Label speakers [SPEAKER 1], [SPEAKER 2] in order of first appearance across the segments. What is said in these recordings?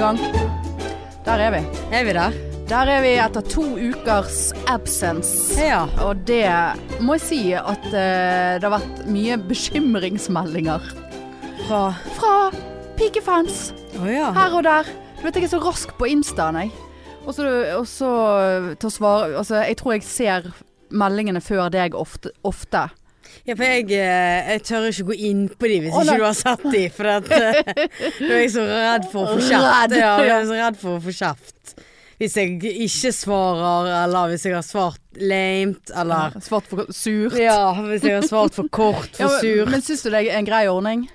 [SPEAKER 1] sånn. Der er vi.
[SPEAKER 2] Er vi der?
[SPEAKER 1] Der er vi etter to ukers absence.
[SPEAKER 2] Ja.
[SPEAKER 1] Og det må jeg si at eh, det har vært mye bekymringsmeldinger
[SPEAKER 2] Fra
[SPEAKER 1] fra pikefans
[SPEAKER 2] Å ja.
[SPEAKER 1] her og der. Du vet jeg er så rask på Instaen, jeg. Og så, og så til å svare Altså, jeg tror jeg ser meldingene før deg ofte. ofte.
[SPEAKER 2] ja, for jeg, eh, jeg tør ikke gå inn på de hvis
[SPEAKER 1] Å, nei.
[SPEAKER 2] ikke du har sett de, for at, eh, da er jeg så redd for å få kjeft.
[SPEAKER 1] Redd,
[SPEAKER 2] Ja, jeg
[SPEAKER 1] ja.
[SPEAKER 2] er så redd for å få kjeft. Hvis jeg ikke svarer, eller hvis jeg har svart lamet, eller
[SPEAKER 1] Svart for surt.
[SPEAKER 2] Ja, hvis jeg har svart for kort,
[SPEAKER 1] Ja,
[SPEAKER 2] for
[SPEAKER 1] men-
[SPEAKER 2] sur.
[SPEAKER 1] Men syns du det er en grei ordning?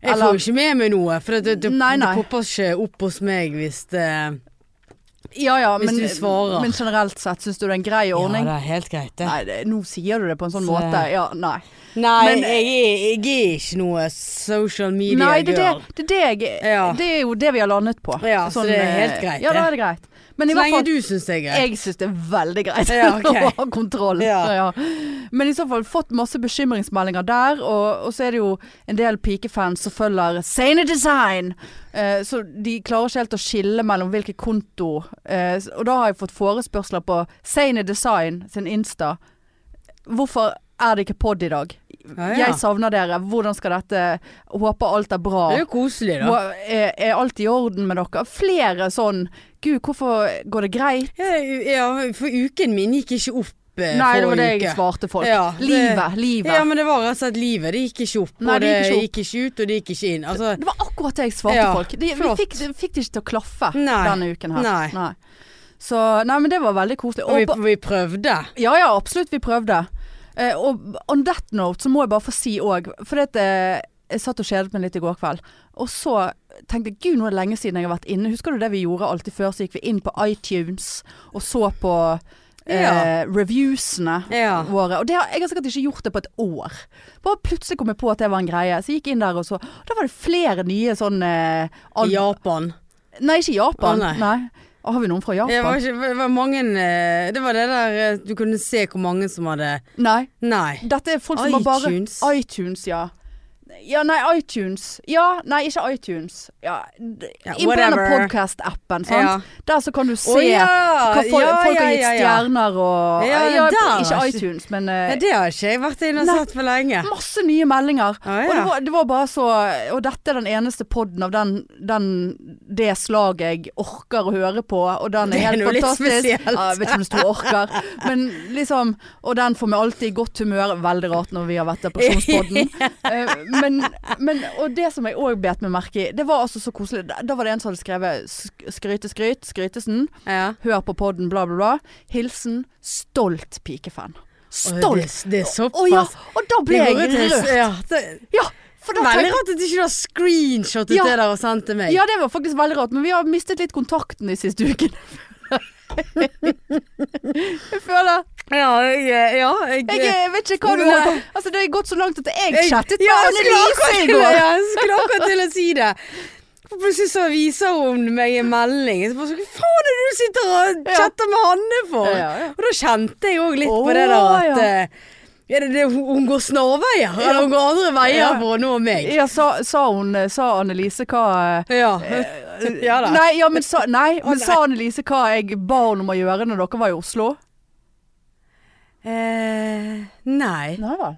[SPEAKER 2] Jeg
[SPEAKER 1] Eller-
[SPEAKER 2] får jo ikke med meg noe, for det, det,
[SPEAKER 1] Nei, nei.
[SPEAKER 2] det popper ikke opp hos meg hvis det
[SPEAKER 1] Ja ja,
[SPEAKER 2] Hvis
[SPEAKER 1] men,
[SPEAKER 2] du svarer.
[SPEAKER 1] men generelt sett, syns du det er en grei ordning?
[SPEAKER 2] Ja, det er helt greit, det.
[SPEAKER 1] Nei, det, nå sier du det på en sånn
[SPEAKER 2] Så-
[SPEAKER 1] måte. Ja, nei.
[SPEAKER 2] Nei,
[SPEAKER 1] Men-
[SPEAKER 2] jeg, er, jeg er ikke noe social media
[SPEAKER 1] Nei, det, er
[SPEAKER 2] girl.
[SPEAKER 1] det, det, er det, jeg,
[SPEAKER 2] Ja.
[SPEAKER 1] det er jo det vi har landet på.
[SPEAKER 2] Ja, så det er helt
[SPEAKER 1] eh,
[SPEAKER 2] greit,
[SPEAKER 1] Ja, da
[SPEAKER 2] det.
[SPEAKER 1] er det greit. Men i
[SPEAKER 2] Så
[SPEAKER 1] hvert
[SPEAKER 2] lenge
[SPEAKER 1] fall,
[SPEAKER 2] du syns det er greit.
[SPEAKER 1] jeg syns det er veldig greit
[SPEAKER 2] Ja, ok.
[SPEAKER 1] å ha kontroll.
[SPEAKER 2] Ja.
[SPEAKER 1] Ja. Men i så fall fått masse bekymringsmeldinger der, og, og så er det jo en del pikefans som følger Sane Design. Eh, så de klarer ikke helt å skille mellom hvilke konto eh, s- Og da har jeg fått forespørsler på Sane Design sin Insta. Hvorfor er det ikke pod i dag?
[SPEAKER 2] Ja, ja.
[SPEAKER 1] Jeg savner dere. Hvordan skal dette Håper alt er bra.
[SPEAKER 2] Det er jo koselig, da.
[SPEAKER 1] Hva- Er, er alt i orden med dere? Flere sånn Gud, hvorfor går det greit?
[SPEAKER 2] Ja, ja, for uken min gikk ikke opp eh,
[SPEAKER 1] Nei, det var det
[SPEAKER 2] forrige
[SPEAKER 1] jeg
[SPEAKER 2] uke.
[SPEAKER 1] svarte folk.
[SPEAKER 2] Ja, det-
[SPEAKER 1] livet. Livet.
[SPEAKER 2] Ja, men det var rett og slett livet. Det gikk ikke opp.
[SPEAKER 1] Nei,
[SPEAKER 2] og
[SPEAKER 1] det
[SPEAKER 2] det
[SPEAKER 1] gikk ikke opp.
[SPEAKER 2] gikk ikke ut, og det gikk ikke inn. Altså,
[SPEAKER 1] det var akkurat det jeg svarte
[SPEAKER 2] Ja,
[SPEAKER 1] folk. De, vi
[SPEAKER 2] flott.
[SPEAKER 1] fikk, de fikk det ikke til å klaffe
[SPEAKER 2] Nei,
[SPEAKER 1] denne uken her.
[SPEAKER 2] nei.
[SPEAKER 1] Så Nei, men det var veldig koselig.
[SPEAKER 2] og
[SPEAKER 1] Og
[SPEAKER 2] vi,
[SPEAKER 1] på,
[SPEAKER 2] vi prøvde.
[SPEAKER 1] ja ja, absolutt. Vi prøvde. Eh, og on that note så må jeg bare få si òg, for det, eh, jeg satt og kjedet meg litt i går kveld. Og så tenkte jeg gud, nå er det lenge siden jeg har vært inne. Husker du det vi gjorde alltid før? Så gikk vi inn på iTunes og så på eh,
[SPEAKER 2] Ja.
[SPEAKER 1] reviewsene
[SPEAKER 2] Ja.
[SPEAKER 1] våre. Og det har, jeg har sikkert ikke gjort det på et år. Bare plutselig kom jeg på at det var en greie. Så jeg gikk inn der og så. Da var det flere nye sånn eh, al-
[SPEAKER 2] I Japan.
[SPEAKER 1] Nei, ikke Japan.
[SPEAKER 2] Å, nei.
[SPEAKER 1] nei. Å, Har vi noen fra
[SPEAKER 2] Det var,
[SPEAKER 1] Japan?
[SPEAKER 2] ikke, det var mange eh, Det var det der eh, du kunne se hvor mange som hadde
[SPEAKER 1] Nei.
[SPEAKER 2] Nei.
[SPEAKER 1] Dette er folk som har bare
[SPEAKER 2] iTunes.
[SPEAKER 1] iTunes, ja. Ja, nei, iTunes. Ja, nei, ikke iTunes. Ja, d-
[SPEAKER 2] Ja,
[SPEAKER 1] Inn på denne
[SPEAKER 2] whatever.
[SPEAKER 1] podkast-appen, sant.
[SPEAKER 2] Ja.
[SPEAKER 1] Der så kan du se
[SPEAKER 2] Å, ja.
[SPEAKER 1] hva folk,
[SPEAKER 2] Ja,
[SPEAKER 1] folk
[SPEAKER 2] ja,
[SPEAKER 1] har gitt
[SPEAKER 2] ja, ja.
[SPEAKER 1] stjerner og
[SPEAKER 2] Ja, der.
[SPEAKER 1] Ikke iTunes, men eh,
[SPEAKER 2] Ja, det har ikke jeg vært inne og
[SPEAKER 1] Nei.
[SPEAKER 2] sett for lenge.
[SPEAKER 1] masse nye meldinger.
[SPEAKER 2] Å, Ah, ja.
[SPEAKER 1] Og det var, det var bare så Og dette er den eneste podden av den, den, det slaget jeg orker å høre på, og den
[SPEAKER 2] Det
[SPEAKER 1] er
[SPEAKER 2] er
[SPEAKER 1] helt
[SPEAKER 2] noe litt
[SPEAKER 1] fantastisk.
[SPEAKER 2] spesielt.
[SPEAKER 1] Ja, jeg vet ikke om det står orker, men liksom Og den får meg alltid i godt humør. Veldig rart når vi har vært depresjonspodden. Eh, men, men Og det som jeg òg bet meg merke i, det var altså så koselig. Da- Da var det en som hadde skrevet sk- skryte, skryt, skrytesen.
[SPEAKER 2] Ja.
[SPEAKER 1] Hør på podden, bla, bla, bla. Hilsen stolt pikefan.
[SPEAKER 2] Å,
[SPEAKER 1] Stolt!
[SPEAKER 2] Det, det er såpass.
[SPEAKER 1] Å ja, og da ble
[SPEAKER 2] Det går
[SPEAKER 1] jeg
[SPEAKER 2] ut-
[SPEAKER 1] rørt.
[SPEAKER 2] Ja, det,
[SPEAKER 1] Ja, for da
[SPEAKER 2] Veldig
[SPEAKER 1] tenkte
[SPEAKER 2] rart at ikke du har screenshotet
[SPEAKER 1] Ja.
[SPEAKER 2] det der og sendt til meg.
[SPEAKER 1] Ja, det var faktisk veldig rart, men vi har mistet litt kontakten de siste ukene. jeg føler
[SPEAKER 2] Ja, jeg, ja, jeg,
[SPEAKER 1] jeg, jeg vet ikke hva du holder på Altså, det har gått så langt at jeg
[SPEAKER 2] jeg-
[SPEAKER 1] chattet
[SPEAKER 2] ja,
[SPEAKER 1] med
[SPEAKER 2] jeg skulle
[SPEAKER 1] Annelise
[SPEAKER 2] akkurat
[SPEAKER 1] i
[SPEAKER 2] til å-
[SPEAKER 1] går.
[SPEAKER 2] Ja, jeg skulle akkurat til å si det. For Plutselig så viser hun meg en melding. Jeg bare så, Hva faen er det du sitter og
[SPEAKER 1] Ja.
[SPEAKER 2] chatter med Hanne for?
[SPEAKER 1] Ja, ja.
[SPEAKER 2] Og da kjente jeg òg litt
[SPEAKER 1] Å,
[SPEAKER 2] på det der at
[SPEAKER 1] ja.
[SPEAKER 2] eh, er det det, hun- hun går snarveier, eller hun går andre veier
[SPEAKER 1] Ja.
[SPEAKER 2] for å nå meg.
[SPEAKER 1] Ja, sa, sa hun Sa Annelise hva eh,
[SPEAKER 2] Ja, ja da.
[SPEAKER 1] Nei, ja, men sa, nei, men
[SPEAKER 2] nei.
[SPEAKER 1] sa Annelise hva jeg ba henne om å gjøre når dere var i Oslo?
[SPEAKER 2] Eh, nei,
[SPEAKER 1] Nei vel.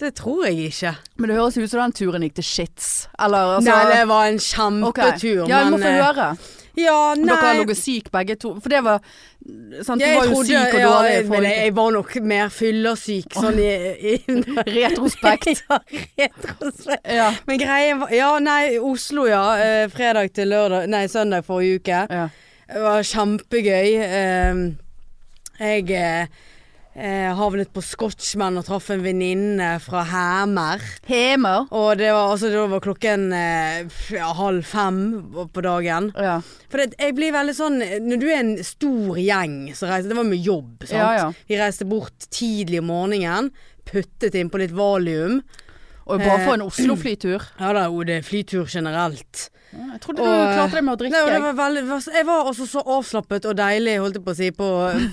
[SPEAKER 2] det tror jeg ikke.
[SPEAKER 1] Men det høres ut som den turen gikk til shits. Eller altså
[SPEAKER 2] nei, det var en
[SPEAKER 1] ok.
[SPEAKER 2] kjempetur,
[SPEAKER 1] Ja, jeg må
[SPEAKER 2] men
[SPEAKER 1] få
[SPEAKER 2] eh,
[SPEAKER 1] høre.
[SPEAKER 2] Ja, nei
[SPEAKER 1] Dere har ligget syk begge to. For det var sant, Du
[SPEAKER 2] Jeg
[SPEAKER 1] var jo
[SPEAKER 2] trodde-
[SPEAKER 1] syk og
[SPEAKER 2] ja,
[SPEAKER 1] dårlig i
[SPEAKER 2] men
[SPEAKER 1] forrige
[SPEAKER 2] jeg, jeg var nok mer fyllesyk sånn i, i
[SPEAKER 1] Retrospekt.
[SPEAKER 2] Ja, retrospekt.
[SPEAKER 1] Ja.
[SPEAKER 2] Men greien var Ja, nei, Oslo, ja. eh, Fredag til lørdag Nei, søndag forrige uke.
[SPEAKER 1] ja.
[SPEAKER 2] Det var kjempegøy. Ehm, Jeg eh, eh, havnet på Scotchman og traff en venninne fra Hæmer.
[SPEAKER 1] Hemer.
[SPEAKER 2] Og det var, altså, det var klokken eh, ja, halv fem på dagen.
[SPEAKER 1] Ja.
[SPEAKER 2] For det, jeg blir veldig sånn Når du er en stor gjeng som reiser Det var med jobb, sant?
[SPEAKER 1] Ja, ja.
[SPEAKER 2] Vi reiste bort tidlig om morgenen, puttet innpå litt valium.
[SPEAKER 1] Og bare for en Oslo-flytur.
[SPEAKER 2] Ja da, jo, det er flytur generelt.
[SPEAKER 1] Jeg trodde du
[SPEAKER 2] Og-
[SPEAKER 1] klarte det med å
[SPEAKER 2] Nei,
[SPEAKER 1] drikke.
[SPEAKER 2] og det var veldig, var så- jeg var også så avslappet og deilig, holdt jeg på å si, på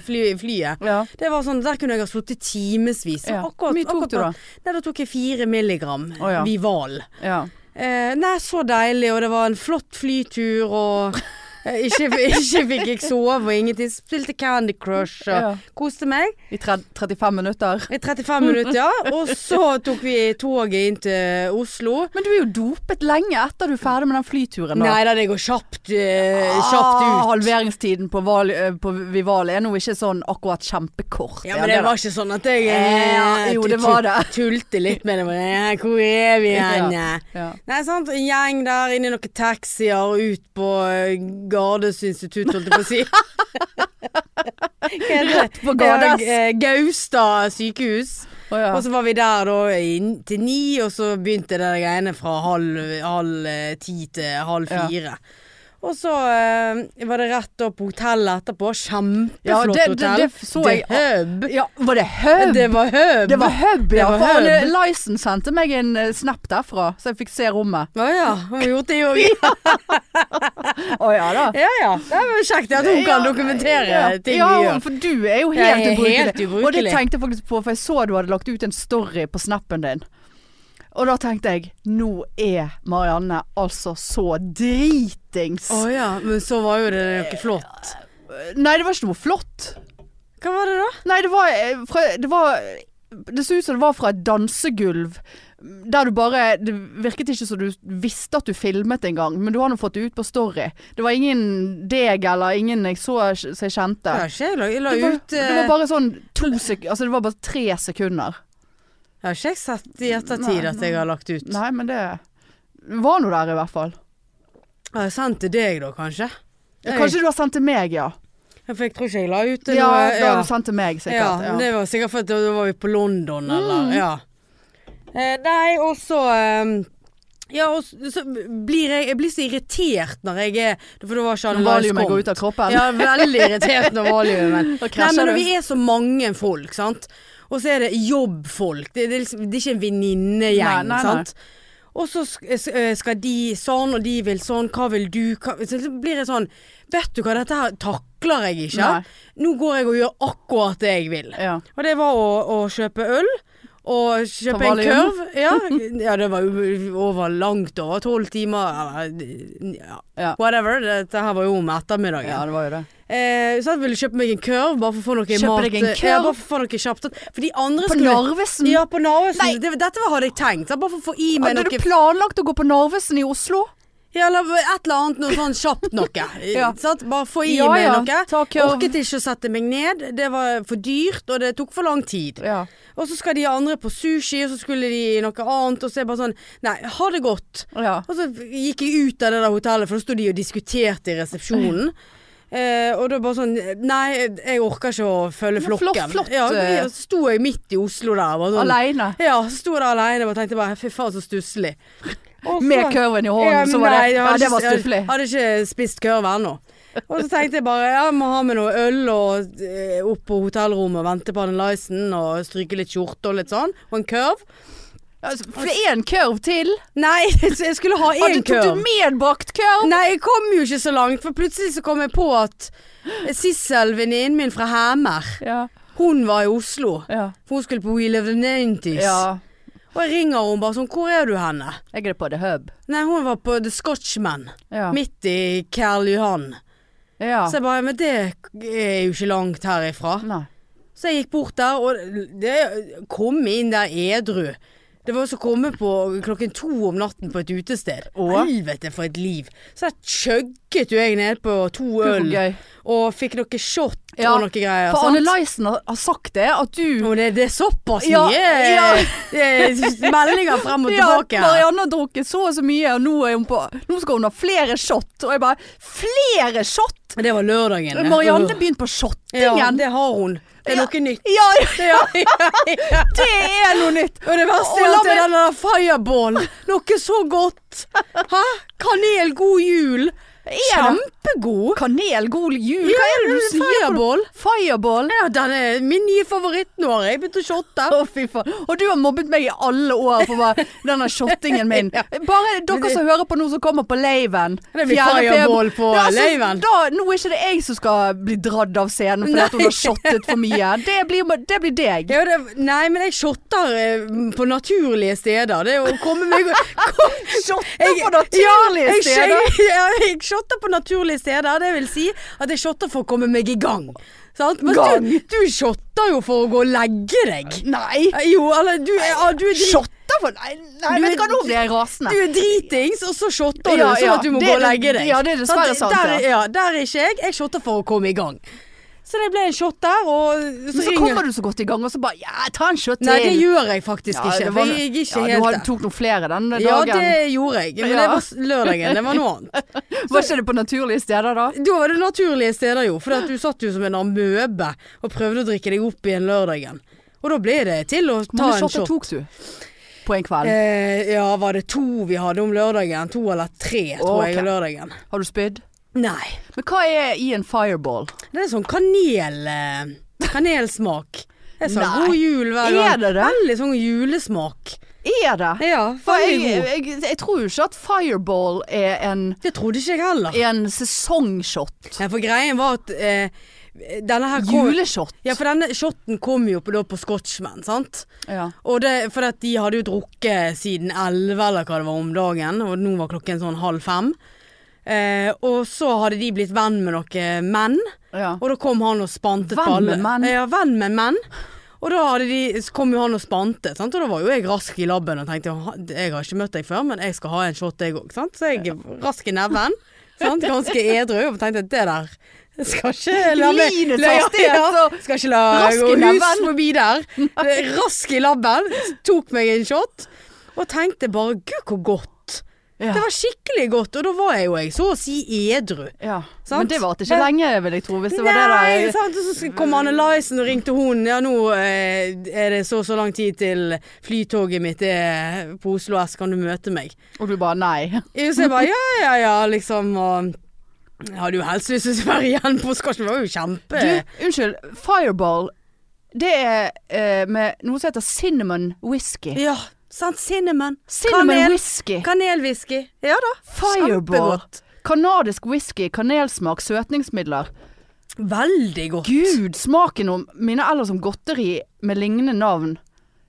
[SPEAKER 2] fly, flyet.
[SPEAKER 1] ja.
[SPEAKER 2] Det var sånn, Der kunne jeg ha sittet timevis.
[SPEAKER 1] Ja.
[SPEAKER 2] Akkurat-
[SPEAKER 1] Hvor mye tok
[SPEAKER 2] akkurat
[SPEAKER 1] du da?
[SPEAKER 2] på- Nei, Da tok jeg fire milligram
[SPEAKER 1] Å, ja.
[SPEAKER 2] Vival.
[SPEAKER 1] ja.
[SPEAKER 2] Eh, nei, så deilig, og det var en flott flytur, og eh, ikke, ikke fikk jeg sove og ingenting. Spilte Candy Crush og
[SPEAKER 1] Ja.
[SPEAKER 2] koste meg.
[SPEAKER 1] I tre- 35 minutter.
[SPEAKER 2] I 35 minutter, ja. Og så tok vi toget inn til Oslo.
[SPEAKER 1] Men du er jo dopet lenge etter du er ferdig med den flyturen. da.
[SPEAKER 2] Nei da, det går kjapt, eh, kjapt
[SPEAKER 1] Ah,
[SPEAKER 2] ut.
[SPEAKER 1] halveringstiden på, val, eh, på Vival er nå ikke sånn akkurat kjempekort.
[SPEAKER 2] Ja,
[SPEAKER 1] er
[SPEAKER 2] men det var ikke sånn at jeg eh,
[SPEAKER 1] Eh, jo,
[SPEAKER 2] tu-
[SPEAKER 1] det var
[SPEAKER 2] tu-
[SPEAKER 1] det.
[SPEAKER 2] tulte litt med det. men, eh, Hvor er vi hen?
[SPEAKER 1] Ja.
[SPEAKER 2] Nei, sant. En gjeng der, inni noen taxier, ut på eh, Gardes institutt, holdt jeg på å si. Rett
[SPEAKER 1] på Gardes.
[SPEAKER 2] eh, Gaustad sykehus.
[SPEAKER 1] Å, ja.
[SPEAKER 2] Og så var vi der da i- til ni, og så begynte det der greiene fra halv, halv eh, ti til halv
[SPEAKER 1] Ja.
[SPEAKER 2] fire. Og så eh, var det rett opp på hotellet etterpå. Kjempeflott
[SPEAKER 1] Ja, det- det-
[SPEAKER 2] hotell.
[SPEAKER 1] det så jeg-
[SPEAKER 2] hub.
[SPEAKER 1] ja, var det hub?
[SPEAKER 2] Det var hub.
[SPEAKER 1] Det var hub,
[SPEAKER 2] Det
[SPEAKER 1] ja.
[SPEAKER 2] var
[SPEAKER 1] For
[SPEAKER 2] hub.
[SPEAKER 1] Anne Lyson sendte meg en eh, snap derfra, så jeg fikk se rommet.
[SPEAKER 2] Å ja, hun har gjort det jo. Ja
[SPEAKER 1] Å ja da.
[SPEAKER 2] ja. Det er jo kjekt at hun kan dokumentere
[SPEAKER 1] Ja.
[SPEAKER 2] ting
[SPEAKER 1] ja,
[SPEAKER 2] vi gjør.
[SPEAKER 1] for du er jo
[SPEAKER 2] Jeg er
[SPEAKER 1] helt, ubrukelig.
[SPEAKER 2] helt ubrukelig.
[SPEAKER 1] Og det tenkte jeg faktisk på, for jeg så du hadde lagt ut en story på snappen din. Og da tenkte jeg, nå er Marianne altså så dritings.
[SPEAKER 2] Å ja, men så var jo det noe flott.
[SPEAKER 1] Nei, det var ikke noe flott.
[SPEAKER 2] Hva var det da?
[SPEAKER 1] Nei, det var, eh, fra, det var Det så ut som det var fra et dansegulv. Der du bare Det virket ikke som du visste at du filmet engang, men du har nå fått det ut på Story. Det var ingen deg eller ingen jeg så som jeg kjente.
[SPEAKER 2] Ja, ikke, jeg la, jeg la
[SPEAKER 1] Det var,
[SPEAKER 2] ut eh,
[SPEAKER 1] det var bare sånn to sek Altså det var bare tre sekunder.
[SPEAKER 2] Jeg har ikke jeg sett i ettertid
[SPEAKER 1] Nei,
[SPEAKER 2] at jeg har lagt ut.
[SPEAKER 1] Nei, men det var nå der, i hvert fall.
[SPEAKER 2] Har jeg sendt til deg da, kanskje?
[SPEAKER 1] Ja,
[SPEAKER 2] Nei.
[SPEAKER 1] Kanskje du har sendt til meg, ja.
[SPEAKER 2] Ja, For jeg tror ikke jeg la ut det
[SPEAKER 1] Ja,
[SPEAKER 2] noe-
[SPEAKER 1] da har du sendt til meg, sikkert.
[SPEAKER 2] ja,
[SPEAKER 1] Ja, Mm.
[SPEAKER 2] men Det var sikkert fordi da var vi på London, eller Ja. Eh, nei, og så eh, Ja, og så så blir jeg, jeg blir så irritert når jeg er For det var
[SPEAKER 1] Når
[SPEAKER 2] ikke alle
[SPEAKER 1] valiumet går ut av kroppen.
[SPEAKER 2] Ja, veldig irritert når valiumen
[SPEAKER 1] Da
[SPEAKER 2] Nei,
[SPEAKER 1] krasjer
[SPEAKER 2] men når
[SPEAKER 1] du.
[SPEAKER 2] vi er så mange folk, sant. Og så er det jobbfolk. Det, det, er liksom, det er ikke en venninnegjeng,
[SPEAKER 1] Nei, nei, nei.
[SPEAKER 2] sant. Og så sk- s- eh, skal de sånn, og de vil sånn. Hva vil du? Hva? Så blir det sånn Vet du hva, dette her takler jeg ikke.
[SPEAKER 1] Nei.
[SPEAKER 2] Nå går jeg og gjør akkurat det jeg vil.
[SPEAKER 1] Ja.
[SPEAKER 2] Og det var å, å kjøpe øl. Og
[SPEAKER 1] Ta
[SPEAKER 2] kjøpe en
[SPEAKER 1] valium.
[SPEAKER 2] kurv. Ja, ja, det var jo over langt over tolv timer. Eller ja,
[SPEAKER 1] Ja.
[SPEAKER 2] whatever. Dette her var jo om ettermiddagen.
[SPEAKER 1] ja, det var jo det.
[SPEAKER 2] Eh, så jeg ville kjøpe meg en kurv, bare for å få noe
[SPEAKER 1] Kjøpe
[SPEAKER 2] mat.
[SPEAKER 1] deg en kurv?
[SPEAKER 2] Ja, bare for å få noe kjapt. For de andre
[SPEAKER 1] På
[SPEAKER 2] skulle
[SPEAKER 1] Narvesen.
[SPEAKER 2] Ja, på Narvesen.
[SPEAKER 1] Nei.
[SPEAKER 2] Det, dette var- hadde jeg tenkt. da, Bare for å få i meg
[SPEAKER 1] Hadde
[SPEAKER 2] noe
[SPEAKER 1] du planlagt å gå på Narvesen i Oslo?
[SPEAKER 2] ja, eller et eller annet noe sånn kjapt noe.
[SPEAKER 1] Ja.
[SPEAKER 2] sant? Bare få i
[SPEAKER 1] Ja,
[SPEAKER 2] meg
[SPEAKER 1] ja. Ta
[SPEAKER 2] noe.
[SPEAKER 1] kurv.
[SPEAKER 2] Orket ikke å sette meg ned. Det var for dyrt, og det tok for lang tid.
[SPEAKER 1] Ja.
[SPEAKER 2] Og så skal de andre på sushi, og så skulle de i noe annet, og så er jeg bare sånn Nei, ha det godt.
[SPEAKER 1] ja.
[SPEAKER 2] Og så gikk jeg ut av det der hotellet, for da sto de og diskuterte i resepsjonen. Eh, og da bare sånn Nei, jeg orker ikke å følge
[SPEAKER 1] Ja, flott,
[SPEAKER 2] flokken.
[SPEAKER 1] flott,
[SPEAKER 2] ja,
[SPEAKER 1] eh.
[SPEAKER 2] og så sto jeg midt i Oslo der. Bare sånn,
[SPEAKER 1] Aleine.
[SPEAKER 2] Ja, så sto jeg der aleine og tenkte bare fy faen så stusslig. Og så-
[SPEAKER 1] Med kurven i hånden,
[SPEAKER 2] Ja,
[SPEAKER 1] så var
[SPEAKER 2] nei,
[SPEAKER 1] det
[SPEAKER 2] jeg
[SPEAKER 1] Ja,
[SPEAKER 2] hadde
[SPEAKER 1] det var
[SPEAKER 2] ikke-
[SPEAKER 1] stufflig.
[SPEAKER 2] Jeg hadde ikke spist kurv ennå. Og så tenkte jeg bare jeg må ha med noe øl og eh, opp på hotellrommet og vente på Anne Lysen og stryke litt skjorte og litt sånn. Og en kurv.
[SPEAKER 1] Én Altså, kurv til?
[SPEAKER 2] Nei, så jeg skulle ha
[SPEAKER 1] Hadde
[SPEAKER 2] én
[SPEAKER 1] tok
[SPEAKER 2] kurv.
[SPEAKER 1] du medbakt kurv?
[SPEAKER 2] Nei, jeg kom jo ikke så langt, for plutselig så kom jeg på at Sissel, venninnen min fra Hæmer,
[SPEAKER 1] Ja.
[SPEAKER 2] hun var i Oslo.
[SPEAKER 1] ja.
[SPEAKER 2] For hun skulle på We Live the 90s.
[SPEAKER 1] Ja.
[SPEAKER 2] Og jeg ringer henne bare sånn 'Hvor er du henne?'
[SPEAKER 1] Jeg er på The Hub.
[SPEAKER 2] Nei, hun var på The Scotchman.
[SPEAKER 1] Ja.
[SPEAKER 2] Midt i Karl Johan.
[SPEAKER 1] ja.
[SPEAKER 2] Så jeg bare 'Men det er jo ikke langt herifra'.
[SPEAKER 1] Nei.
[SPEAKER 2] Så jeg gikk bort der, og det kom inn der edru. Det var også å komme på klokken to om natten på et utested.
[SPEAKER 1] Åh.
[SPEAKER 2] Helvete for et liv. Så jeg chugget jo jeg ned på to
[SPEAKER 1] Gud,
[SPEAKER 2] øl.
[SPEAKER 1] hvor gøy.
[SPEAKER 2] Og fikk noe shot
[SPEAKER 1] Ja,
[SPEAKER 2] og noe greier.
[SPEAKER 1] For Anne
[SPEAKER 2] sant?
[SPEAKER 1] Lysen har har sagt det, at du
[SPEAKER 2] Og det, det er såpass
[SPEAKER 1] Ja,
[SPEAKER 2] mye eh, meldinger frem og
[SPEAKER 1] ja,
[SPEAKER 2] tilbake. her.
[SPEAKER 1] Marianne har drukket så og så mye, og nå, er hun på, nå skal hun ha flere shot. Og jeg bare Flere shot?!
[SPEAKER 2] Det var lørdagen. ja.
[SPEAKER 1] Marianne begynte på
[SPEAKER 2] ja,
[SPEAKER 1] shottingen.
[SPEAKER 2] det har hun. Det er
[SPEAKER 1] Ja.
[SPEAKER 2] noe nytt.
[SPEAKER 1] Ja,
[SPEAKER 2] Ja, ja, ja.
[SPEAKER 1] det er noe nytt!
[SPEAKER 2] Og det verste
[SPEAKER 1] Og
[SPEAKER 2] er
[SPEAKER 1] la
[SPEAKER 2] at det er
[SPEAKER 1] meg-
[SPEAKER 2] den der fireball. Noe så godt. Hæ? Kanel, god jul.
[SPEAKER 1] Er det
[SPEAKER 2] Kjempegod!
[SPEAKER 1] kanel, god jul?
[SPEAKER 2] Ja,
[SPEAKER 1] Hva er det du
[SPEAKER 2] det er
[SPEAKER 1] sier?
[SPEAKER 2] fireball.
[SPEAKER 1] Fireball?
[SPEAKER 2] Ja, den er min nye favoritt nå. har Jeg begynte å shotte.
[SPEAKER 1] Å, fy faen. Og du har mobbet meg i alle år for bare denne shottingen min. Bare dere som hører på nå som kommer på laven.
[SPEAKER 2] Det blir
[SPEAKER 1] fjerde feb-
[SPEAKER 2] fireball på
[SPEAKER 1] Ja, altså,
[SPEAKER 2] laven.
[SPEAKER 1] Da, nå er ikke det jeg som skal bli dradd av scenen fordi at hun har shottet for mye. Det blir, det blir deg.
[SPEAKER 2] Ja, det, nei, men jeg shotter eh, på naturlige steder. Det er å komme meg kom,
[SPEAKER 1] Shotter
[SPEAKER 2] Jeg-
[SPEAKER 1] på naturlige
[SPEAKER 2] jeg,
[SPEAKER 1] steder.
[SPEAKER 2] Jeg, ja, jeg shotter på naturlige steder. Det vil si at jeg shotter for å komme meg i gang. Sant? Men
[SPEAKER 1] Gang.
[SPEAKER 2] du, du shotter jo for å gå og legge deg.
[SPEAKER 1] Nei.
[SPEAKER 2] Eh, Jo, eller du, er- ja, du er dri-
[SPEAKER 1] Shotter for Nei, nei
[SPEAKER 2] Du-
[SPEAKER 1] vet du hva, nå blir jeg rasende.
[SPEAKER 2] Du er dritings, og så shotter du
[SPEAKER 1] Ja,
[SPEAKER 2] sånn
[SPEAKER 1] ja.
[SPEAKER 2] at du må
[SPEAKER 1] Det
[SPEAKER 2] gå
[SPEAKER 1] er det-
[SPEAKER 2] og legge deg.
[SPEAKER 1] ja, det er dessverre sant,
[SPEAKER 2] Der,
[SPEAKER 1] ja.
[SPEAKER 2] ja, der er ikke jeg. Jeg shotter for å komme i gang. Så det ble en shot der, og
[SPEAKER 1] Men så
[SPEAKER 2] ringer-
[SPEAKER 1] kommer du så godt i gang, og så bare Ja, ta en shot til.
[SPEAKER 2] Nei, det gjør jeg faktisk
[SPEAKER 1] Ja,
[SPEAKER 2] ikke.
[SPEAKER 1] det var-
[SPEAKER 2] For jeg er ikke
[SPEAKER 1] ja, Du
[SPEAKER 2] helt der.
[SPEAKER 1] hadde- tok noen flere den dagen.
[SPEAKER 2] Ja, det gjorde jeg. Men
[SPEAKER 1] Ja.
[SPEAKER 2] det var s- lørdagen. Det var noe annet.
[SPEAKER 1] Var ikke det på naturlige steder da?
[SPEAKER 2] Da var det naturlige steder, jo. For at du satt jo som en amøbe og prøvde å drikke deg opp igjen lørdagen. Og da ble det til å
[SPEAKER 1] Hvor
[SPEAKER 2] ta
[SPEAKER 1] mange
[SPEAKER 2] en
[SPEAKER 1] shotter
[SPEAKER 2] shot.
[SPEAKER 1] tok du på en kveld?
[SPEAKER 2] Eh, ja, var det to vi hadde om lørdagen? To eller tre, tror jeg,
[SPEAKER 1] Ok.
[SPEAKER 2] om lørdagen.
[SPEAKER 1] Har du spydd?
[SPEAKER 2] Nei.
[SPEAKER 1] Men hva er i en fireball?
[SPEAKER 2] Det er sånn kanel... eh, Kanelsmak. Jeg sa
[SPEAKER 1] Nei.
[SPEAKER 2] god jul hver gang.
[SPEAKER 1] Er det det?
[SPEAKER 2] Veldig sånn julesmak.
[SPEAKER 1] Er det?
[SPEAKER 2] Ja,
[SPEAKER 1] For jeg,
[SPEAKER 2] veldig god.
[SPEAKER 1] jeg, jeg, tror jo ikke at fireball er en,
[SPEAKER 2] Det trodde ikke jeg heller.
[SPEAKER 1] er en sesongshot.
[SPEAKER 2] Nei, for greien var at eh, denne her kom,
[SPEAKER 1] Juleshot.
[SPEAKER 2] Ja, for denne shotten kom jo på, da på Scotchman, sant?
[SPEAKER 1] Ja.
[SPEAKER 2] Og det, for at de hadde jo drukket siden 11 eller hva det var om dagen, og nå var klokken sånn halv fem. Eh, og så hadde de blitt venn med noen menn,
[SPEAKER 1] Ja.
[SPEAKER 2] og da kom han og spantet
[SPEAKER 1] Venn
[SPEAKER 2] på alle.
[SPEAKER 1] med menn?
[SPEAKER 2] Ja, venn med menn. Og da hadde de, så kom jo han og spantet, sant? og da var jo jeg rask i labben og tenkte "Ha- jeg har ikke møtt deg før, men jeg skal ha en shot jeg òg. Så jeg er rask i neven, sant? ganske edru, og tenkte at det der skal ikke la meg
[SPEAKER 1] Linets
[SPEAKER 2] la- ja,
[SPEAKER 1] hastighet,
[SPEAKER 2] ja,
[SPEAKER 1] og
[SPEAKER 2] Skal ikke la
[SPEAKER 1] rask i
[SPEAKER 2] gå hus
[SPEAKER 1] labben.
[SPEAKER 2] forbi der. Rask i labben, tok meg en shot og tenkte bare gud, hvor godt.
[SPEAKER 1] Ja.
[SPEAKER 2] Det var skikkelig godt, og da var jeg jo jeg så å si edru.
[SPEAKER 1] ja.
[SPEAKER 2] Sant?
[SPEAKER 1] Men det varte ikke lenge, vil jeg tro. Hvis det var
[SPEAKER 2] Nei,
[SPEAKER 1] det da.
[SPEAKER 2] sant? Og så kom Anne Lysen og ringte hun. Ja, nå eh, er det så og så lang tid til flytoget mitt er på Oslo S, kan du møte meg?
[SPEAKER 1] Og du bare nei.
[SPEAKER 2] Ja, Så jeg bare ja, ja, ja, liksom. Og jeg hadde jo helst lyst til å være igjen på Skarsen, det var jo kjempe...
[SPEAKER 1] Du, unnskyld. Fireball, det er eh, med noe som heter cinnamon whisky.
[SPEAKER 2] Ja, sant. Cinnamon.
[SPEAKER 1] Cinnamon
[SPEAKER 2] Kanel.
[SPEAKER 1] whisky.
[SPEAKER 2] Kanelwhisky. Ja da.
[SPEAKER 1] Fireball.
[SPEAKER 2] Kjempegodt.
[SPEAKER 1] Kanadisk whisky, kanelsmak, søtningsmidler.
[SPEAKER 2] Veldig godt.
[SPEAKER 1] Gud, smaken om mine ellers om godteri med lignende navn.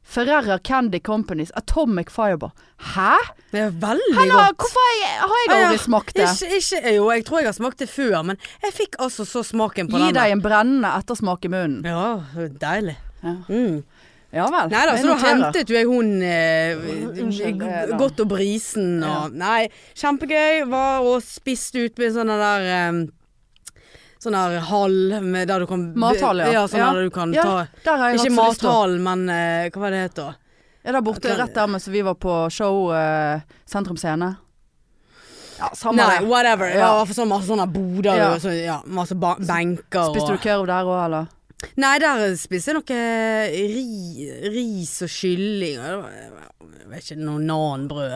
[SPEAKER 1] Ferrera Candy Companies, Atomic Fireball. Hæ?
[SPEAKER 2] Det er veldig
[SPEAKER 1] Eller,
[SPEAKER 2] godt.
[SPEAKER 1] hvorfor har jeg, har jeg aldri smakt det?
[SPEAKER 2] Ikke, ikke, jo, jeg tror jeg har smakt det før, men jeg fikk altså så smaken på
[SPEAKER 1] Gi
[SPEAKER 2] den.
[SPEAKER 1] deg en brennende ettersmak i munnen.
[SPEAKER 2] Ja, deilig.
[SPEAKER 1] Ja.
[SPEAKER 2] Mm.
[SPEAKER 1] Ja vel.
[SPEAKER 2] Nei da,
[SPEAKER 1] jeg
[SPEAKER 2] så da
[SPEAKER 1] noterer.
[SPEAKER 2] hentet jo jeg hun eh,
[SPEAKER 1] Unnskyld, det
[SPEAKER 2] g-
[SPEAKER 1] da.
[SPEAKER 2] Godt og brisen og Nei, kjempegøy. Var og spiste ut med sånne der eh, Sånn der hall med, der du kan
[SPEAKER 1] Mathall, ja.
[SPEAKER 2] ja sånn
[SPEAKER 1] Ja.
[SPEAKER 2] der du kan
[SPEAKER 1] Ja,
[SPEAKER 2] ta
[SPEAKER 1] Der har jeg
[SPEAKER 2] Ikke
[SPEAKER 1] hatt så lyst til å-
[SPEAKER 2] mathall, men eh, hva var det det het da?
[SPEAKER 1] Ja, der borte, rett der med som vi var på show, eh, Sentrum Scene. Ja, samme
[SPEAKER 2] Nei,
[SPEAKER 1] det.
[SPEAKER 2] whatever.
[SPEAKER 1] Ja.
[SPEAKER 2] Ja. for sånn masse sånne boder
[SPEAKER 1] Ja.
[SPEAKER 2] og så, ja, masse ba benker
[SPEAKER 1] Spiste du
[SPEAKER 2] og
[SPEAKER 1] kurv der òg, eller?
[SPEAKER 2] Nei, der spiste jeg noe ri, ris og kylling og det var- Jeg vet ikke, noe nanbrød.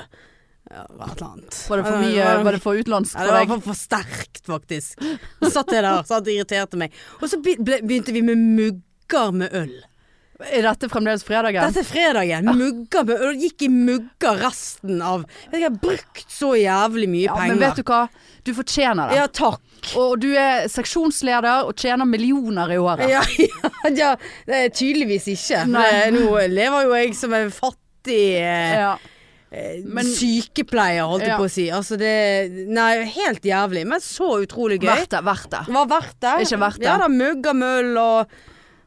[SPEAKER 2] Ja, det var et eller annet.
[SPEAKER 1] Var det for mye,
[SPEAKER 2] Ja, det
[SPEAKER 1] var det for utenlandsk
[SPEAKER 2] Ja,
[SPEAKER 1] for
[SPEAKER 2] det var
[SPEAKER 1] deg?
[SPEAKER 2] for, for sterkt, faktisk. Så satt jeg der satt og irriterte meg. Og så be- ble, begynte vi med mugger med øl.
[SPEAKER 1] Er dette fremdeles fredagen?
[SPEAKER 2] Dette er fredagen. Mugger med øl. Gikk i mugger resten av Jeg har brukt så jævlig mye
[SPEAKER 1] Ja,
[SPEAKER 2] penger.
[SPEAKER 1] men vet du hva? Du fortjener det.
[SPEAKER 2] ja, takk.
[SPEAKER 1] Og du er seksjonsleder og tjener millioner i året.
[SPEAKER 2] Ja, ja, ja det er tydeligvis ikke. For
[SPEAKER 1] Nei.
[SPEAKER 2] det, nå lever jo jeg som en fattig eh,
[SPEAKER 1] Ja.
[SPEAKER 2] men, sykepleier, holdt jeg
[SPEAKER 1] Ja.
[SPEAKER 2] på å si. Altså det Nei, helt jævlig, men så utrolig gøy.
[SPEAKER 1] Verdt det, verdt det.
[SPEAKER 2] Det var verdt det.
[SPEAKER 1] Ikke verdt det.
[SPEAKER 2] Ja da, mugger møll og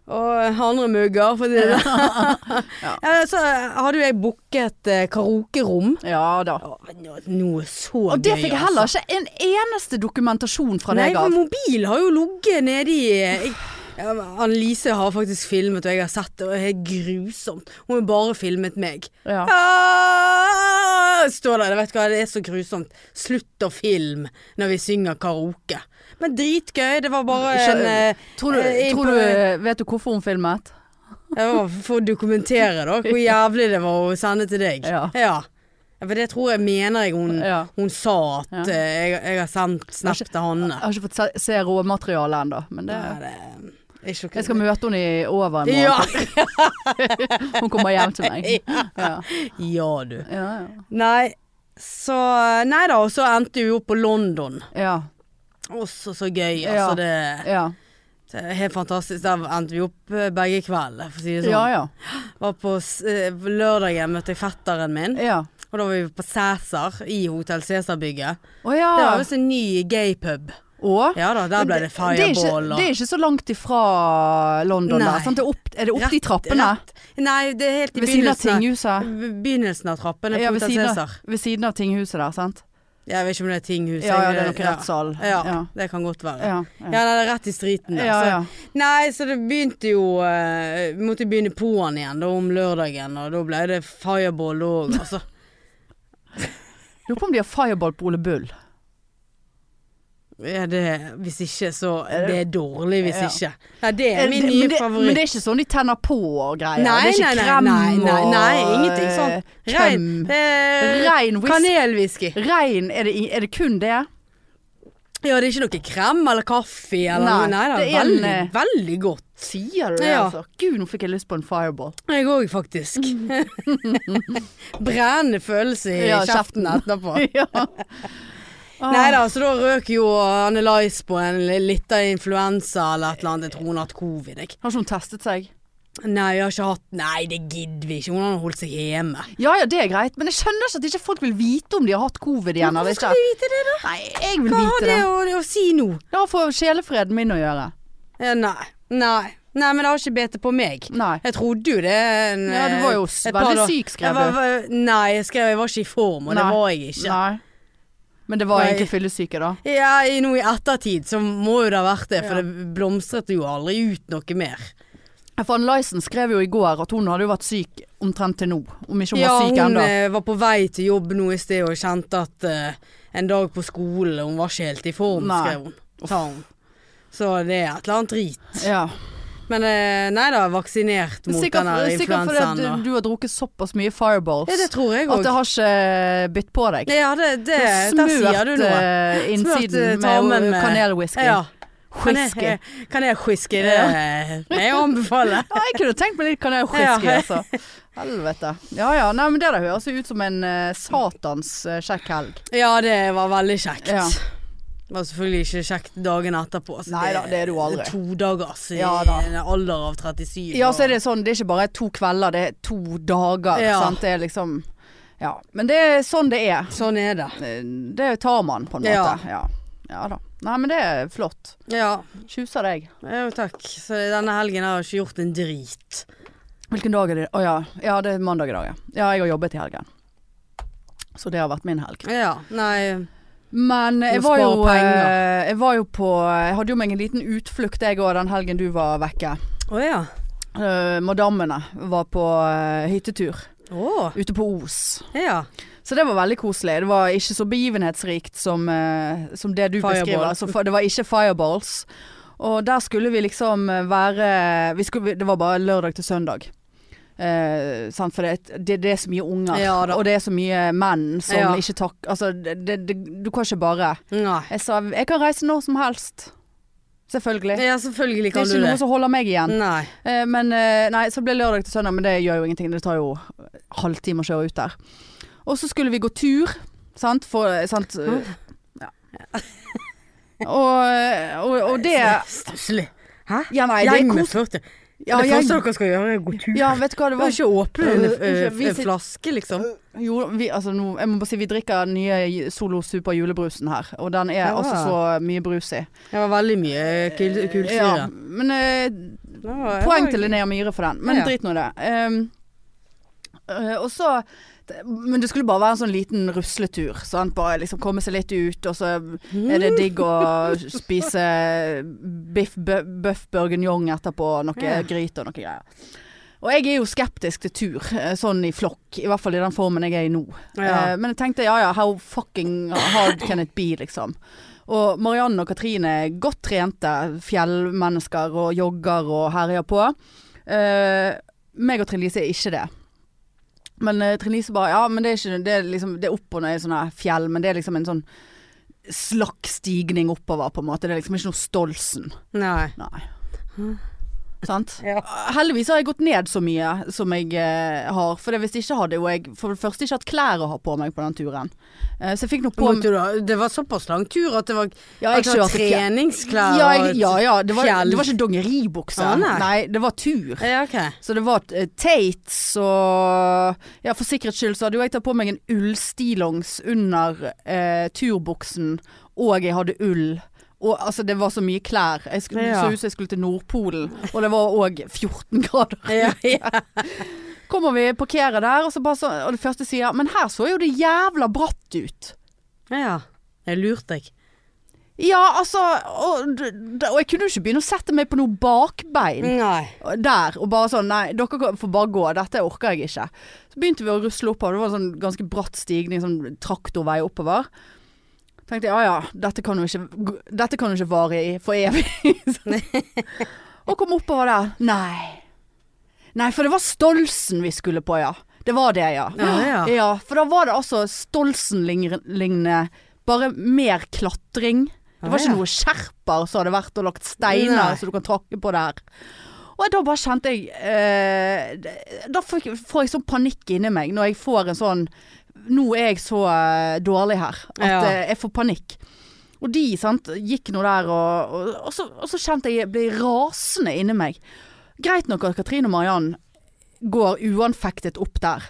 [SPEAKER 2] og andre mugger, for å si det sånn.
[SPEAKER 1] Ja.
[SPEAKER 2] ja, Så hadde jo jeg booket eh, karaokerom.
[SPEAKER 1] Ja da.
[SPEAKER 2] Å, Noe, noe så gøy, altså.
[SPEAKER 1] Og det fikk jeg heller ikke en eneste dokumentasjon fra
[SPEAKER 2] Nei,
[SPEAKER 1] deg
[SPEAKER 2] for
[SPEAKER 1] av.
[SPEAKER 2] mobil har jo ligget nedi jeg- ja, Annelise har faktisk filmet, og jeg har sett det, og det er helt grusomt. Hun har bare filmet meg.
[SPEAKER 1] Ja.
[SPEAKER 2] Ah, Står der, vet du hva, det er så grusomt. Slutt å filme når vi synger karaoke. Men dritgøy, det var bare
[SPEAKER 1] Skjø-
[SPEAKER 2] en eh,
[SPEAKER 1] Tror du,
[SPEAKER 2] eh,
[SPEAKER 1] tror du eh, Vet du hvorfor hun filmet?
[SPEAKER 2] Det var for å dokumentere da, hvor jævlig det var å sende til deg.
[SPEAKER 1] Ja.
[SPEAKER 2] ja. Ja, For det tror jeg mener jeg hun,
[SPEAKER 1] Ja.
[SPEAKER 2] hun sa at
[SPEAKER 1] Ja.
[SPEAKER 2] eh, jeg, jeg har sendt snap til Hanne.
[SPEAKER 1] Jeg har ikke fått se, se råmaterialet ennå, men det,
[SPEAKER 2] Nei, det er ikke ok.
[SPEAKER 1] jeg skal møte henne i over en
[SPEAKER 2] ja.
[SPEAKER 1] måned. Hun kommer hjem til meg. Ja.
[SPEAKER 2] ja, du.
[SPEAKER 1] Ja, ja.
[SPEAKER 2] Nei, så eh, Nei da, og så endte vi opp på London.
[SPEAKER 1] ja,
[SPEAKER 2] Også så gøy.
[SPEAKER 1] Ja.
[SPEAKER 2] Altså, det,
[SPEAKER 1] ja.
[SPEAKER 2] det er helt fantastisk. Der endte vi opp eh, begge kveldene, for å si det sånn.
[SPEAKER 1] ja, ja.
[SPEAKER 2] Var på s- eh, lørdagen møtte jeg fetteren min,
[SPEAKER 1] ja.
[SPEAKER 2] og da var vi på Cæsar i Hotell Cæsar-bygget.
[SPEAKER 1] Å ja.
[SPEAKER 2] Det var visst en ny gaypub.
[SPEAKER 1] Og?
[SPEAKER 2] Ja da, der
[SPEAKER 1] Ah. Men
[SPEAKER 2] ble
[SPEAKER 1] er
[SPEAKER 2] det
[SPEAKER 1] ikke-
[SPEAKER 2] fireball og
[SPEAKER 1] Det er ikke så langt ifra London
[SPEAKER 2] Nei.
[SPEAKER 1] der. Sant? Det er, opp, er det opp de trappene?
[SPEAKER 2] Rett- Nei, det er helt i
[SPEAKER 1] Ved siden av
[SPEAKER 2] begynnelsen av,
[SPEAKER 1] tinghuset?
[SPEAKER 2] begynnelsen av trappene
[SPEAKER 1] Ja,
[SPEAKER 2] på
[SPEAKER 1] ved
[SPEAKER 2] Hotell
[SPEAKER 1] siden av,
[SPEAKER 2] Cæsar.
[SPEAKER 1] ved siden av tinghuset der, sant?
[SPEAKER 2] Jeg vet ikke om det er tinghuset.
[SPEAKER 1] Ja, ja, det er
[SPEAKER 2] jeg-
[SPEAKER 1] nok rettssal.
[SPEAKER 2] Ja, ja,
[SPEAKER 1] Ja.
[SPEAKER 2] det kan godt være.
[SPEAKER 1] Ja,
[SPEAKER 2] Ja, nei, det er rett i striten der.
[SPEAKER 1] ja,
[SPEAKER 2] så-
[SPEAKER 1] ja.
[SPEAKER 2] Nei, så det begynte jo eh, Vi måtte begynne på'n igjen da om lørdagen, og da ble det fireball òg, altså.
[SPEAKER 1] Lurer på om de har fireball på Ole Bull.
[SPEAKER 2] Ja, det, hvis ikke, så
[SPEAKER 1] Er det-
[SPEAKER 2] Det er dårlig hvis
[SPEAKER 1] Ja.
[SPEAKER 2] ikke. Nei, det er min
[SPEAKER 1] Eh,
[SPEAKER 2] nye
[SPEAKER 1] men, det,
[SPEAKER 2] favoritt.
[SPEAKER 1] men det er ikke sånn de tenner på og greier?
[SPEAKER 2] Nei,
[SPEAKER 1] det er ikke
[SPEAKER 2] nei, nei,
[SPEAKER 1] krem
[SPEAKER 2] nei, nei,
[SPEAKER 1] og
[SPEAKER 2] nei, ingenting sånt.
[SPEAKER 1] eh,
[SPEAKER 2] Rein, eh,
[SPEAKER 1] Krem.
[SPEAKER 2] det er
[SPEAKER 1] Rein whisky.
[SPEAKER 2] kanelwhisky.
[SPEAKER 1] Rein, er det, i- er det kun det?
[SPEAKER 2] Ja, det er ikke noe krem eller kaffe eller
[SPEAKER 1] Nei,
[SPEAKER 2] noe. Nei, det
[SPEAKER 1] det
[SPEAKER 2] er
[SPEAKER 1] er
[SPEAKER 2] veldig,
[SPEAKER 1] en, eh,
[SPEAKER 2] veldig godt.
[SPEAKER 1] Sier du det,
[SPEAKER 2] Ja.
[SPEAKER 1] altså? Gud, nå fikk jeg lyst på en fireball.
[SPEAKER 2] Jeg òg, faktisk. Brennende følelse i
[SPEAKER 1] Ja,
[SPEAKER 2] Eh, kjeften
[SPEAKER 1] kjeften.
[SPEAKER 2] etterpå.
[SPEAKER 1] ja. Ah.
[SPEAKER 2] Nei da, så da røk jo Anne Lice på en li- lita influensa eller et eller annet. Jeg tror hun har hatt covid, jeg.
[SPEAKER 1] Har ikke hun testet seg?
[SPEAKER 2] Nei, jeg har ikke hatt Nei, det gidder vi ikke. Hun har holdt seg hjemme.
[SPEAKER 1] Ja ja, det er greit, men jeg skjønner ikke at ikke folk vil vite om de har hatt covid igjen. eller
[SPEAKER 2] Hvorfor
[SPEAKER 1] ikke.
[SPEAKER 2] skal vi vite det, da?
[SPEAKER 1] Nei, jeg vil
[SPEAKER 2] Hva har
[SPEAKER 1] vite
[SPEAKER 2] det
[SPEAKER 1] det.
[SPEAKER 2] å, å si nå?
[SPEAKER 1] Det har for sjelefreden min å gjøre.
[SPEAKER 2] Eh, Nei. Nei. Nei, men det har ikke bitt på meg.
[SPEAKER 1] Nei.
[SPEAKER 2] Jeg trodde jo det en,
[SPEAKER 1] Ja, du var jo
[SPEAKER 2] eh,
[SPEAKER 1] s-
[SPEAKER 2] et par
[SPEAKER 1] veldig
[SPEAKER 2] da-
[SPEAKER 1] syk, skrev
[SPEAKER 2] Jeg
[SPEAKER 1] du.
[SPEAKER 2] var- var- Nei, jeg skrev jeg var ikke i form, og
[SPEAKER 1] Nei.
[SPEAKER 2] det var jeg ikke.
[SPEAKER 1] Nei. Men det var
[SPEAKER 2] Nei.
[SPEAKER 1] egentlig fyllesyke, da.
[SPEAKER 2] Ja, i, nå i ettertid så må jo det ha vært det, for
[SPEAKER 1] Ja.
[SPEAKER 2] det blomstret jo aldri ut noe mer.
[SPEAKER 1] For Lyson skrev jo i går at hun hadde jo vært syk omtrent til nå. Om ikke hun
[SPEAKER 2] Ja,
[SPEAKER 1] var syk
[SPEAKER 2] hun
[SPEAKER 1] ennå.
[SPEAKER 2] eh, var på vei til jobb nå i sted og kjente at eh, en dag på skolen Hun var ikke helt i form,
[SPEAKER 1] Nei.
[SPEAKER 2] skrev hun. Sa hun. Så det er et eller annet drit.
[SPEAKER 1] Ja.
[SPEAKER 2] Men eh, nei da, vaksinert mot
[SPEAKER 1] Sikkert,
[SPEAKER 2] denne
[SPEAKER 1] sikkert fordi at
[SPEAKER 2] influensaen.
[SPEAKER 1] du,
[SPEAKER 2] og-
[SPEAKER 1] du har drukket såpass mye fireballs
[SPEAKER 2] Ja, det tror jeg
[SPEAKER 1] at
[SPEAKER 2] òg.
[SPEAKER 1] det har ikke eh, bytt på deg.
[SPEAKER 2] Ja, det, det, der sier du noe.
[SPEAKER 1] eh,
[SPEAKER 2] eh,
[SPEAKER 1] innsiden
[SPEAKER 2] tarmen
[SPEAKER 1] med
[SPEAKER 2] med-
[SPEAKER 1] kanelwhisky.
[SPEAKER 2] Ja.
[SPEAKER 1] eh, Whisky.
[SPEAKER 2] Kan jeg whisky? Det eh, det er å anbefale.
[SPEAKER 1] Ja, jeg kunne tenkt meg litt kanelwhisky,
[SPEAKER 2] Ja.
[SPEAKER 1] altså. Helvete. Ja ja, nei, men det der høres jo ut som en eh, satans eh, kjekk helg.
[SPEAKER 2] Ja, det var veldig kjekt.
[SPEAKER 1] Ja.
[SPEAKER 2] Det var selvfølgelig ikke kjekt dagen etterpå. så
[SPEAKER 1] Nei da, det er du aldri.
[SPEAKER 2] To dager altså,
[SPEAKER 1] Ja da.
[SPEAKER 2] i en alder av 37.
[SPEAKER 1] Ja, så
[SPEAKER 2] og-
[SPEAKER 1] er det sånn, det er ikke bare to kvelder, det er to dager.
[SPEAKER 2] Ja.
[SPEAKER 1] Sant? Det er liksom Ja. Men det er sånn det er.
[SPEAKER 2] Sånn er det.
[SPEAKER 1] Eh, Det tar man, på en måte.
[SPEAKER 2] Ja.
[SPEAKER 1] Ja. ja. da. Nei, men det er flott.
[SPEAKER 2] Ja,
[SPEAKER 1] Tjuser deg.
[SPEAKER 2] jo takk. Så denne helgen har jeg ikke gjort en drit.
[SPEAKER 1] Hvilken dag er det? Å ja. ja, det er mandag i dag, ja. Ja, jeg har jobbet i helgen. Så det har vært min helg.
[SPEAKER 2] Ja, nei
[SPEAKER 1] Men jeg
[SPEAKER 2] må
[SPEAKER 1] var, jo,
[SPEAKER 2] spare penger.
[SPEAKER 1] eh, jeg var jo på Jeg hadde jo meg en liten utflukt jeg òg den helgen du var vekke.
[SPEAKER 2] Å ja.
[SPEAKER 1] Eh, Madammene var på eh, hyttetur
[SPEAKER 2] Å,
[SPEAKER 1] ute på Os.
[SPEAKER 2] ja.
[SPEAKER 1] Så det var veldig koselig. Det var ikke så begivenhetsrikt som, eh, som det du
[SPEAKER 2] Fireball.
[SPEAKER 1] beskriver. Altså, fa- det var ikke fireballs. Og der skulle vi liksom eh, være vi skulle, Det var bare lørdag til søndag. Eh, sant? For det, det, det er så mye unger,
[SPEAKER 2] Ja da.
[SPEAKER 1] og det er så mye menn som
[SPEAKER 2] Ja.
[SPEAKER 1] ikke takker Altså, det, det, du kan ikke bare
[SPEAKER 2] Nei.
[SPEAKER 1] Jeg sa jeg kan reise når som helst. Selvfølgelig.
[SPEAKER 2] Ja, selvfølgelig
[SPEAKER 1] Det
[SPEAKER 2] kan
[SPEAKER 1] er
[SPEAKER 2] du
[SPEAKER 1] ikke noe
[SPEAKER 2] det.
[SPEAKER 1] som holder meg igjen.
[SPEAKER 2] Nei.
[SPEAKER 1] Eh, Men eh, nei, så ble det lørdag til søndag, men det gjør jo ingenting. Det tar jo halvtime å kjøre ut der. Og så skulle vi gå tur, sant, for sant eh, ja. Og, eh, og, og det
[SPEAKER 2] Stusslig. Hæ?
[SPEAKER 1] Ja, nei, det
[SPEAKER 2] Gjeng
[SPEAKER 1] er
[SPEAKER 2] med
[SPEAKER 1] kos...
[SPEAKER 2] 40.
[SPEAKER 1] Ja,
[SPEAKER 2] det
[SPEAKER 1] jeg,
[SPEAKER 2] første dere skal gjøre, er å gå tur.
[SPEAKER 1] ja, vet du hva det
[SPEAKER 2] Du kan
[SPEAKER 1] var?
[SPEAKER 2] ikke åpne en,
[SPEAKER 1] Øh,
[SPEAKER 2] øh,
[SPEAKER 1] vi
[SPEAKER 2] en
[SPEAKER 1] sit-
[SPEAKER 2] flaske, liksom.
[SPEAKER 1] Jo, vi, altså, nå, jeg må bare si vi drikker den nye Solo Super julebrusen her. Og den er
[SPEAKER 2] Ja.
[SPEAKER 1] altså så mye brus i.
[SPEAKER 2] Det var veldig mye kul
[SPEAKER 1] Ja,
[SPEAKER 2] kulsyre.
[SPEAKER 1] men eh,
[SPEAKER 2] Det var-
[SPEAKER 1] Poeng til Linnea Myhre for den, men
[SPEAKER 2] Ja.
[SPEAKER 1] drit nå i det. Ehm, eh, og så Men det skulle bare være en sånn liten rusletur. Sant? Bare liksom komme seg litt ut, og så
[SPEAKER 2] Mhm.
[SPEAKER 1] er det digg å spise biff bø- bøff bourguignon etterpå, noe
[SPEAKER 2] Ja.
[SPEAKER 1] gryte og noe greier. Og jeg er jo skeptisk til tur, eh, sånn i flokk. I hvert fall i den formen jeg er i nå.
[SPEAKER 2] Ja.
[SPEAKER 1] Eh, Men jeg tenkte ja ja, how fucking hard can it be, liksom. Og Marianne og Katrine er godt trente fjellmennesker og jogger og herjer på. Eh, meg og Trine Lise er ikke det. Men eh, Trine Lise bare Ja, men det er ikke Det er, liksom, det er opp og ned i sånne fjell, men det er liksom en sånn slakk stigning oppover, på en måte. Det er liksom ikke noe Stolsen.
[SPEAKER 2] Nei.
[SPEAKER 1] Nei. Sant?
[SPEAKER 2] Ja.
[SPEAKER 1] Heldigvis har jeg gått ned så mye som jeg eh, har. For det, hvis ikke hadde jo jeg for det første ikke hatt klær å ha på meg på den turen. Eh, så jeg fikk noe på
[SPEAKER 2] Måtte du da- det var såpass lang tur at det var,
[SPEAKER 1] Ja,
[SPEAKER 2] at det var
[SPEAKER 1] kjørte fjell-
[SPEAKER 2] treningsklær
[SPEAKER 1] Ja,
[SPEAKER 2] og-
[SPEAKER 1] jeg, ja, ja. Det var,
[SPEAKER 2] fjell.
[SPEAKER 1] det var ikke dongeribukse.
[SPEAKER 2] Å, nei.
[SPEAKER 1] nei, det var tur.
[SPEAKER 2] Ja, ok.
[SPEAKER 1] Så det var eh, Tates og Ja, for sikkerhets skyld så hadde jo jeg tatt på meg en ullstillongs under eh, turbuksen, og jeg hadde ull. Og altså, det var så mye klær. Jeg skulle,
[SPEAKER 2] Ja.
[SPEAKER 1] så ut som jeg skulle til Nordpolen, og det var òg 14 grader.
[SPEAKER 2] Ja, ja.
[SPEAKER 1] Kommer vi parkerer der, og, så bare så, og det første sier Men her så jo det jævla bratt ut.
[SPEAKER 2] ja. Jeg lurte deg.
[SPEAKER 1] Ja, altså Og, d- d- og jeg kunne jo ikke begynne å sette meg på noe bakbein.
[SPEAKER 2] Nei.
[SPEAKER 1] der og bare sånn Nei, dere kan- får bare gå. Dette orker jeg ikke. Så begynte vi å rusle oppover. Det var sånn ganske bratt stigning, sånn traktorvei oppover. Tenkte jeg ja ja, dette kan jo ikke, dette kan jo ikke vare i for evig. Sånn. og kom oppover der. Nei. Nei, for det var Stolsen vi skulle på, ja. Det var det, ja.
[SPEAKER 2] Ja, ja.
[SPEAKER 1] for da var det altså Stolsen-lignende, bare mer klatring. Det var
[SPEAKER 2] Ja,
[SPEAKER 1] ikke
[SPEAKER 2] ja.
[SPEAKER 1] noe skjerper som hadde vært og lagt steiner
[SPEAKER 2] Nei.
[SPEAKER 1] som du kan tråkke på der. Og da bare kjente jeg eh, d- Da får jeg, får jeg sånn panikk inni meg når jeg får en sånn Nå er jeg så eh, dårlig her at
[SPEAKER 2] Ja.
[SPEAKER 1] eh, jeg får panikk. Og de sant, gikk nå der, og, og, og, så, og så kjente jeg jeg ble rasende inni meg. Greit nok at Katrine og Mariann går uanfektet opp der.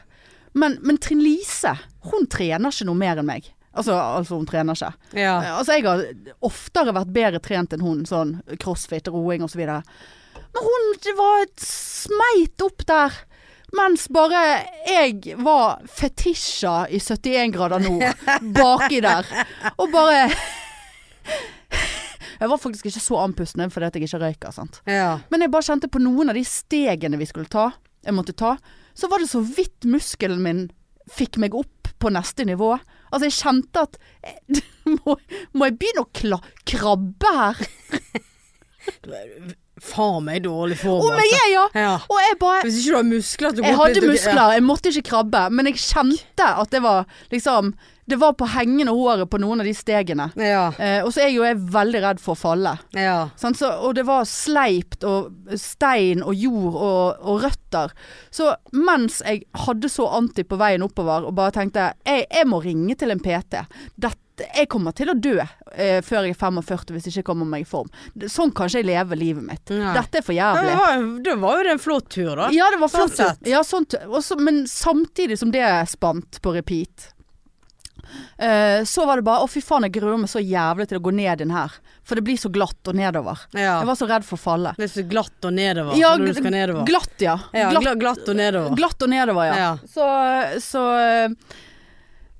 [SPEAKER 1] Men, men Trine Lise, hun trener ikke noe mer enn meg. Altså, altså hun trener ikke.
[SPEAKER 2] Ja.
[SPEAKER 1] Altså, jeg har oftere vært bedre trent enn hun, sånn crossfit, roing osv. Men hun det var et smeit opp der. Mens bare jeg var fetisja i 71 grader nord, baki der. Og bare Jeg var faktisk ikke så andpusten fordi at jeg ikke røyker, sant.
[SPEAKER 2] Ja.
[SPEAKER 1] Men jeg bare kjente på noen av de stegene vi skulle ta, jeg måtte ta, så var det så vidt muskelen min fikk meg opp på neste nivå. Altså, jeg kjente at eh, Må, må jeg begynne å kla krabbe her?
[SPEAKER 2] Faen meg dårlig form, altså.
[SPEAKER 1] Om jeg er, ja!
[SPEAKER 2] Ja.
[SPEAKER 1] Og jeg bare
[SPEAKER 2] Hvis ikke du har muskler til å gå
[SPEAKER 1] Jeg
[SPEAKER 2] opp litt
[SPEAKER 1] hadde
[SPEAKER 2] og-
[SPEAKER 1] muskler, jeg måtte ikke krabbe, men jeg kjente at det var liksom Det var på hengende håret på noen av de stegene.
[SPEAKER 2] Ja.
[SPEAKER 1] Eh, og så er jo jeg veldig redd for å falle.
[SPEAKER 2] Ja.
[SPEAKER 1] Sant? Så, og det var sleipt og stein og jord og, og røtter. Så mens jeg hadde så anti på veien oppover og bare tenkte jeg, jeg må ringe til en PT. Dette, jeg kommer til å dø eh, før jeg er 45 hvis jeg ikke kommer meg i form. Det- Sånn kan ikke jeg leve livet mitt.
[SPEAKER 2] Nei.
[SPEAKER 1] Dette er for
[SPEAKER 2] Ja,
[SPEAKER 1] jævlig.
[SPEAKER 2] Det var, det var jo det en flott tur, da.
[SPEAKER 1] Ja, det var
[SPEAKER 2] Sånn
[SPEAKER 1] flott. ja.
[SPEAKER 2] sett.
[SPEAKER 1] Ja, sånt. Også, men samtidig som det er spant på repeat, eh, så var det bare Å, fy faen, jeg gruer meg så jævlig til å gå ned inn her. For det blir så glatt og nedover.
[SPEAKER 2] Ja.
[SPEAKER 1] Jeg var så redd for å falle.
[SPEAKER 2] Det er så glatt og nedover
[SPEAKER 1] Ja,
[SPEAKER 2] når du
[SPEAKER 1] gl-
[SPEAKER 2] skal nedover.
[SPEAKER 1] Glatt, ja.
[SPEAKER 2] ja,
[SPEAKER 1] glatt,
[SPEAKER 2] gla- glatt og nedover.
[SPEAKER 1] glatt og nedover, ja.
[SPEAKER 2] Ja.
[SPEAKER 1] Så, så,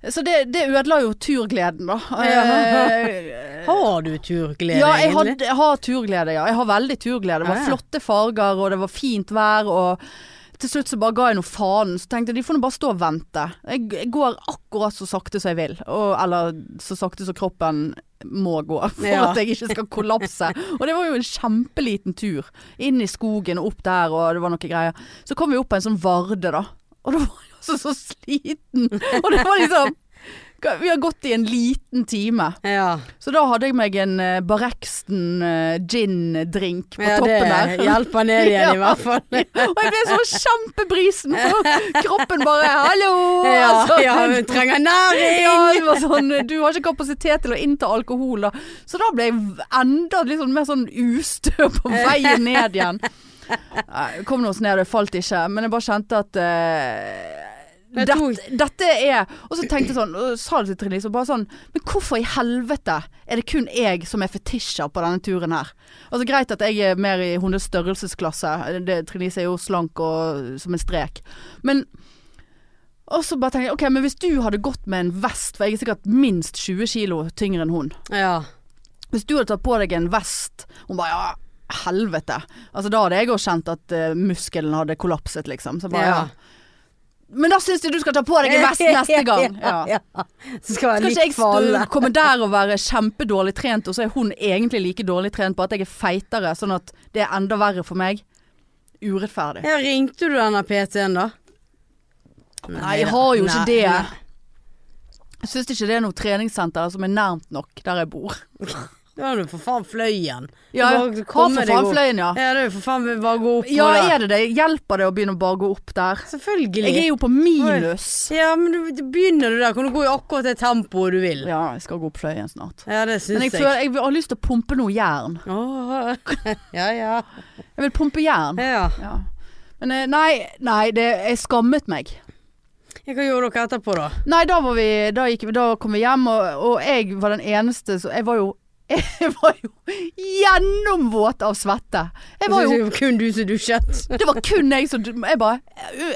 [SPEAKER 1] så det, det ødela jo turgleden, da. Eh,
[SPEAKER 2] Har du turglede,
[SPEAKER 1] ja, jeg,
[SPEAKER 2] egentlig? Ah,
[SPEAKER 1] hadde, jeg har turglede, ja. Jeg har veldig turglede. Det
[SPEAKER 2] Ja,
[SPEAKER 1] var
[SPEAKER 2] ja.
[SPEAKER 1] flotte farger, og det var fint vær, og til slutt så bare ga jeg noe faen. Så tenkte jeg de får nå bare stå og vente. Jeg, jeg går akkurat så sakte som jeg vil, og, eller så sakte som kroppen må gå for
[SPEAKER 2] Ja.
[SPEAKER 1] at jeg ikke skal kollapse. Og det var jo en kjempeliten tur. Inn i skogen og opp der, og det var noe greier. Så kom vi opp på en sånn varde, da. Og da var jeg altså så sliten. Og det var liksom Vi har gått i en liten time.
[SPEAKER 2] Ja.
[SPEAKER 1] Så da hadde jeg meg en eh, Barrexton eh, gin-drink på
[SPEAKER 2] ja, det
[SPEAKER 1] toppen der.
[SPEAKER 2] hjelper ned igjen, i
[SPEAKER 1] Ja.
[SPEAKER 2] hvert fall.
[SPEAKER 1] Og jeg ble så kjempebrisen, for kroppen bare 'hallo'.
[SPEAKER 2] Ja,
[SPEAKER 1] altså.
[SPEAKER 2] ja, vi trenger
[SPEAKER 1] Ja,
[SPEAKER 2] næring!
[SPEAKER 1] det var sånn, du har ikke kapasitet til å innta alkohol, da. Så da ble jeg enda litt sånn mer sånn ustø på veien ned igjen. Nei, Kom nå oss ned, det falt ikke. Men jeg bare kjente at eh,
[SPEAKER 2] Jeg tror-
[SPEAKER 1] dette, dette er Og så tenkte jeg sånn, og sa det til Trine Lise, og bare sånn Men hvorfor i helvete er det kun jeg som er fetisjer på denne turen her? Altså Greit at jeg er mer i hennes størrelsesklasse. Det- Trine Lise er jo slank og som en strek. Men og så bare tenkte jeg, ok, men hvis du hadde gått med en vest, for jeg er sikkert minst 20 kilo tyngre enn hun.
[SPEAKER 2] Ja.
[SPEAKER 1] Hvis du hadde tatt på deg en vest, hun bare, ja, helvete. Altså da hadde jeg også kjent at eh, muskelen hadde kollapset liksom. Så bare,
[SPEAKER 2] Ja.
[SPEAKER 1] ja. Men da synes jeg du skal ta på deg en vest neste gang. Ja.
[SPEAKER 2] Ja. Så skal
[SPEAKER 1] Skal ikke
[SPEAKER 2] jeg like
[SPEAKER 1] jeg
[SPEAKER 2] falle.
[SPEAKER 1] stå- komme der og være kjempedårlig trent, og så er hun egentlig like dårlig trent på at jeg er feitere, sånn at det er enda verre for meg. Urettferdig.
[SPEAKER 2] Ja, ringte du denne PT-en, da?
[SPEAKER 1] Nei, jeg har jo ikke det. Jeg syns ikke det er noe treningssenter som er nærmt nok der jeg bor.
[SPEAKER 2] Da er du for faen fløyen.
[SPEAKER 1] Ja,
[SPEAKER 2] Du bare
[SPEAKER 1] har
[SPEAKER 2] kommer
[SPEAKER 1] for
[SPEAKER 2] deg
[SPEAKER 1] faen
[SPEAKER 2] opp.
[SPEAKER 1] fløyen, ja.
[SPEAKER 2] Ja, det er jo for faen vi bare gå opp
[SPEAKER 1] Ja,
[SPEAKER 2] nå, da.
[SPEAKER 1] er det det? Hjelper det å begynne å bare gå opp der?
[SPEAKER 2] Selvfølgelig.
[SPEAKER 1] Jeg er jo på minus.
[SPEAKER 2] Ja, men du, du begynner du der, kan du gå i akkurat det tempoet du vil. Ja,
[SPEAKER 1] Ja, jeg skal gå opp fløyen snart.
[SPEAKER 2] det syns
[SPEAKER 1] Men jeg,
[SPEAKER 2] jeg.
[SPEAKER 1] føler, jeg vil- har lyst til å pumpe noe jern.
[SPEAKER 2] Åh, ja, ja.
[SPEAKER 1] Jeg vil pumpe jern.
[SPEAKER 2] ja.
[SPEAKER 1] Ja. Men eh, nei, nei det, jeg skammet meg.
[SPEAKER 2] Ja, Hva gjorde dere etterpå, da?
[SPEAKER 1] Nei, da, var vi, da, gikk, vi- da kom vi hjem, og, og jeg var den eneste som Jeg var jo jeg var jo gjennomvåt av svette. Jeg var jo,
[SPEAKER 2] Det var kun du som dusjet.
[SPEAKER 1] det var kun jeg som Jeg bare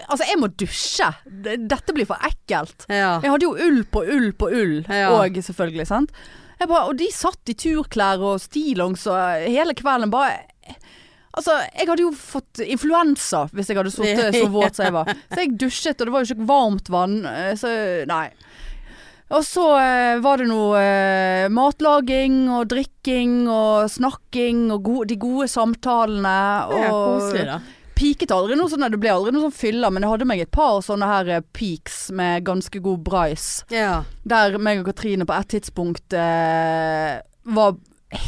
[SPEAKER 1] Altså, jeg må dusje. Det- Dette blir for ekkelt.
[SPEAKER 2] Ja.
[SPEAKER 1] Jeg hadde jo ull på ull på ull,
[SPEAKER 2] Ja.
[SPEAKER 1] og selvfølgelig, sant. Jeg bare, og de satt i turklær og stillongs og hele kvelden bare Altså, jeg hadde jo fått influensa hvis jeg hadde sittet så våt som jeg var. Så jeg dusjet, og det var jo ikke varmt vann, eh, så nei. Og så eh, var det noe eh, matlaging og drikking og snakking og go de gode samtalene. Og
[SPEAKER 2] Ja, koselig, da.
[SPEAKER 1] Piket aldri noe sånn, det ble aldri noe sånn fylla, men jeg hadde meg et par sånne her eh, peaks med ganske god brice.
[SPEAKER 2] Ja.
[SPEAKER 1] Der meg og Katrine på et tidspunkt eh, var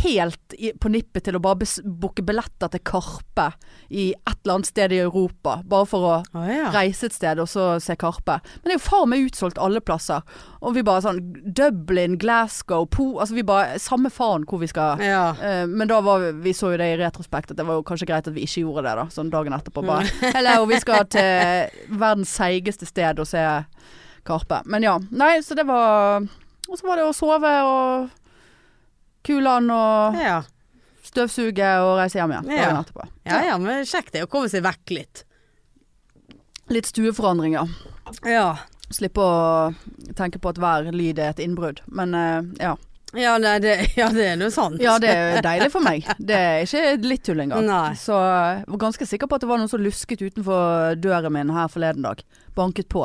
[SPEAKER 1] helt i, på nippet til å bare bes- booke billetter til Karpe i et eller annet sted i Europa. Bare for å
[SPEAKER 2] Å ja.
[SPEAKER 1] reise et sted og så se Karpe. Men det er jo faen meg utsolgt alle plasser. Og vi bare sånn Dublin, Glasgow, Po Altså vi bare Samme faen hvor vi skal.
[SPEAKER 2] ja.
[SPEAKER 1] Eh, Men da var vi, vi så jo det i retrospekt at det var jo kanskje greit at vi ikke gjorde det da, sånn dagen etterpå bare.
[SPEAKER 2] Mm.
[SPEAKER 1] Eller vi skal til verdens seigeste sted og se Karpe. Men ja, nei, så det var Og så var det å sove og Kulan og
[SPEAKER 2] Ja.
[SPEAKER 1] støvsuge og reise hjem igjen dagen
[SPEAKER 2] Ja.
[SPEAKER 1] etterpå.
[SPEAKER 2] ja ja, men kjekt det å komme seg vekk litt.
[SPEAKER 1] Litt stueforandringer.
[SPEAKER 2] Ja.
[SPEAKER 1] Slippe å tenke på at hver lyd er et innbrudd. Men eh, ja.
[SPEAKER 2] Ja, nei, det, ja det er noe sant.
[SPEAKER 1] ja, det er deilig for meg. Det er ikke litt tull engang.
[SPEAKER 2] Nei.
[SPEAKER 1] Så jeg var ganske sikker på at det var noen som lusket utenfor døren min her forleden dag. Banket på.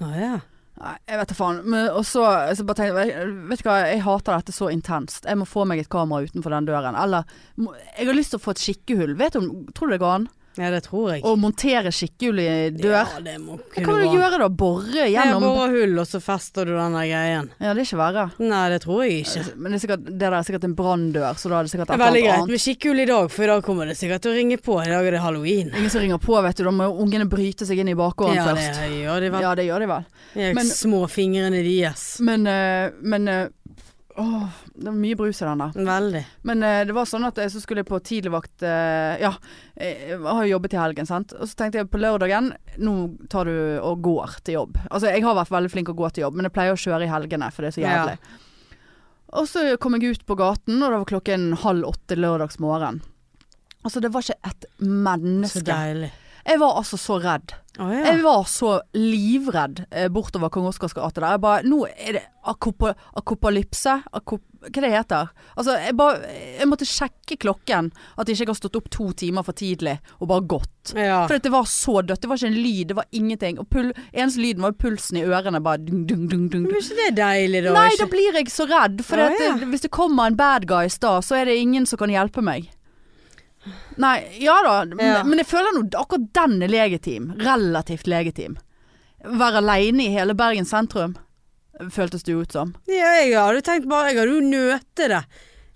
[SPEAKER 2] Å ja.
[SPEAKER 1] Nei, jeg vet da faen. Men, og så, så bare tenkte jeg Vet du hva, jeg hater dette så intenst. Jeg må få meg et kamera utenfor den døren. Eller må- jeg har lyst til å få et skikkehull. Vet du, om- Tror du det går an?
[SPEAKER 2] Ja, det tror jeg.
[SPEAKER 1] Å montere skikkehull i dør?
[SPEAKER 2] Ja, det må
[SPEAKER 1] Hva kan
[SPEAKER 2] kunne
[SPEAKER 1] du
[SPEAKER 2] gå an.
[SPEAKER 1] gjøre da? Bore
[SPEAKER 2] Jeg
[SPEAKER 1] gjennom
[SPEAKER 2] borer hull, og så fester du den der greien.
[SPEAKER 1] Ja, det er ikke verre.
[SPEAKER 2] Nei, det tror jeg ikke.
[SPEAKER 1] Men det, er sikkert, det der er sikkert en branndør, så da er det sikkert
[SPEAKER 2] Det
[SPEAKER 1] et
[SPEAKER 2] er
[SPEAKER 1] eller
[SPEAKER 2] veldig
[SPEAKER 1] annet
[SPEAKER 2] greit
[SPEAKER 1] annet.
[SPEAKER 2] med skikkhull i dag, for i dag kommer det sikkert til å ringe på. I dag er det halloween.
[SPEAKER 1] Ingen som ringer på, vet du. Da må jo ungene bryte seg inn i bakgården
[SPEAKER 2] Ja, det
[SPEAKER 1] først.
[SPEAKER 2] gjør de vel.
[SPEAKER 1] Ja, det gjør de vel.
[SPEAKER 2] De
[SPEAKER 1] Men-
[SPEAKER 2] små fingrene deres.
[SPEAKER 1] Men, eh, men eh, Åh, det var mye brus i den der.
[SPEAKER 2] Veldig.
[SPEAKER 1] Men eh, det var sånn at jeg så skulle jeg på tidligvakt eh, Ja, jeg har jo jobbet i helgen, sant. Og så tenkte jeg på lørdagen Nå tar du og går til jobb. Altså, jeg har vært veldig flink å gå til jobb, men jeg pleier å kjøre i helgene, for det er så
[SPEAKER 2] Ja.
[SPEAKER 1] jævlig. Og så kom jeg ut på gaten, og det var klokken halv åtte lørdags morgen. Altså, det var ikke et
[SPEAKER 2] Så
[SPEAKER 1] menneske.
[SPEAKER 2] deilig.
[SPEAKER 1] Jeg var altså så redd.
[SPEAKER 2] Å ja.
[SPEAKER 1] Jeg var så livredd eh, bortover Kong Oscars gate der. Jeg bare Nå er det akopa, akopalypse? Akop, hva det heter? Altså, jeg bare Jeg måtte sjekke klokken. At jeg ikke har stått opp to timer for tidlig og bare gått.
[SPEAKER 2] Ja.
[SPEAKER 1] For at det var så dødt. Det var ikke en lyd, det var ingenting. Og pul, eneste lyden var pulsen i ørene. Bare dung, dung, dung, dung, dung.
[SPEAKER 2] Men er ikke det deilig, da?
[SPEAKER 1] Nei,
[SPEAKER 2] Ikke-
[SPEAKER 1] da blir jeg så redd. For
[SPEAKER 2] Ja,
[SPEAKER 1] at,
[SPEAKER 2] ja.
[SPEAKER 1] det- hvis det kommer en bad guy i stad, så er det ingen som kan hjelpe meg. Nei, ja da. Men,
[SPEAKER 2] Ja.
[SPEAKER 1] men jeg føler nå akkurat den er legitim. Relativt legitim. Være aleine i hele Bergen sentrum, føltes det jo ut som.
[SPEAKER 2] Ja, jeg hadde tenkt bare Jeg hadde jo nøte det.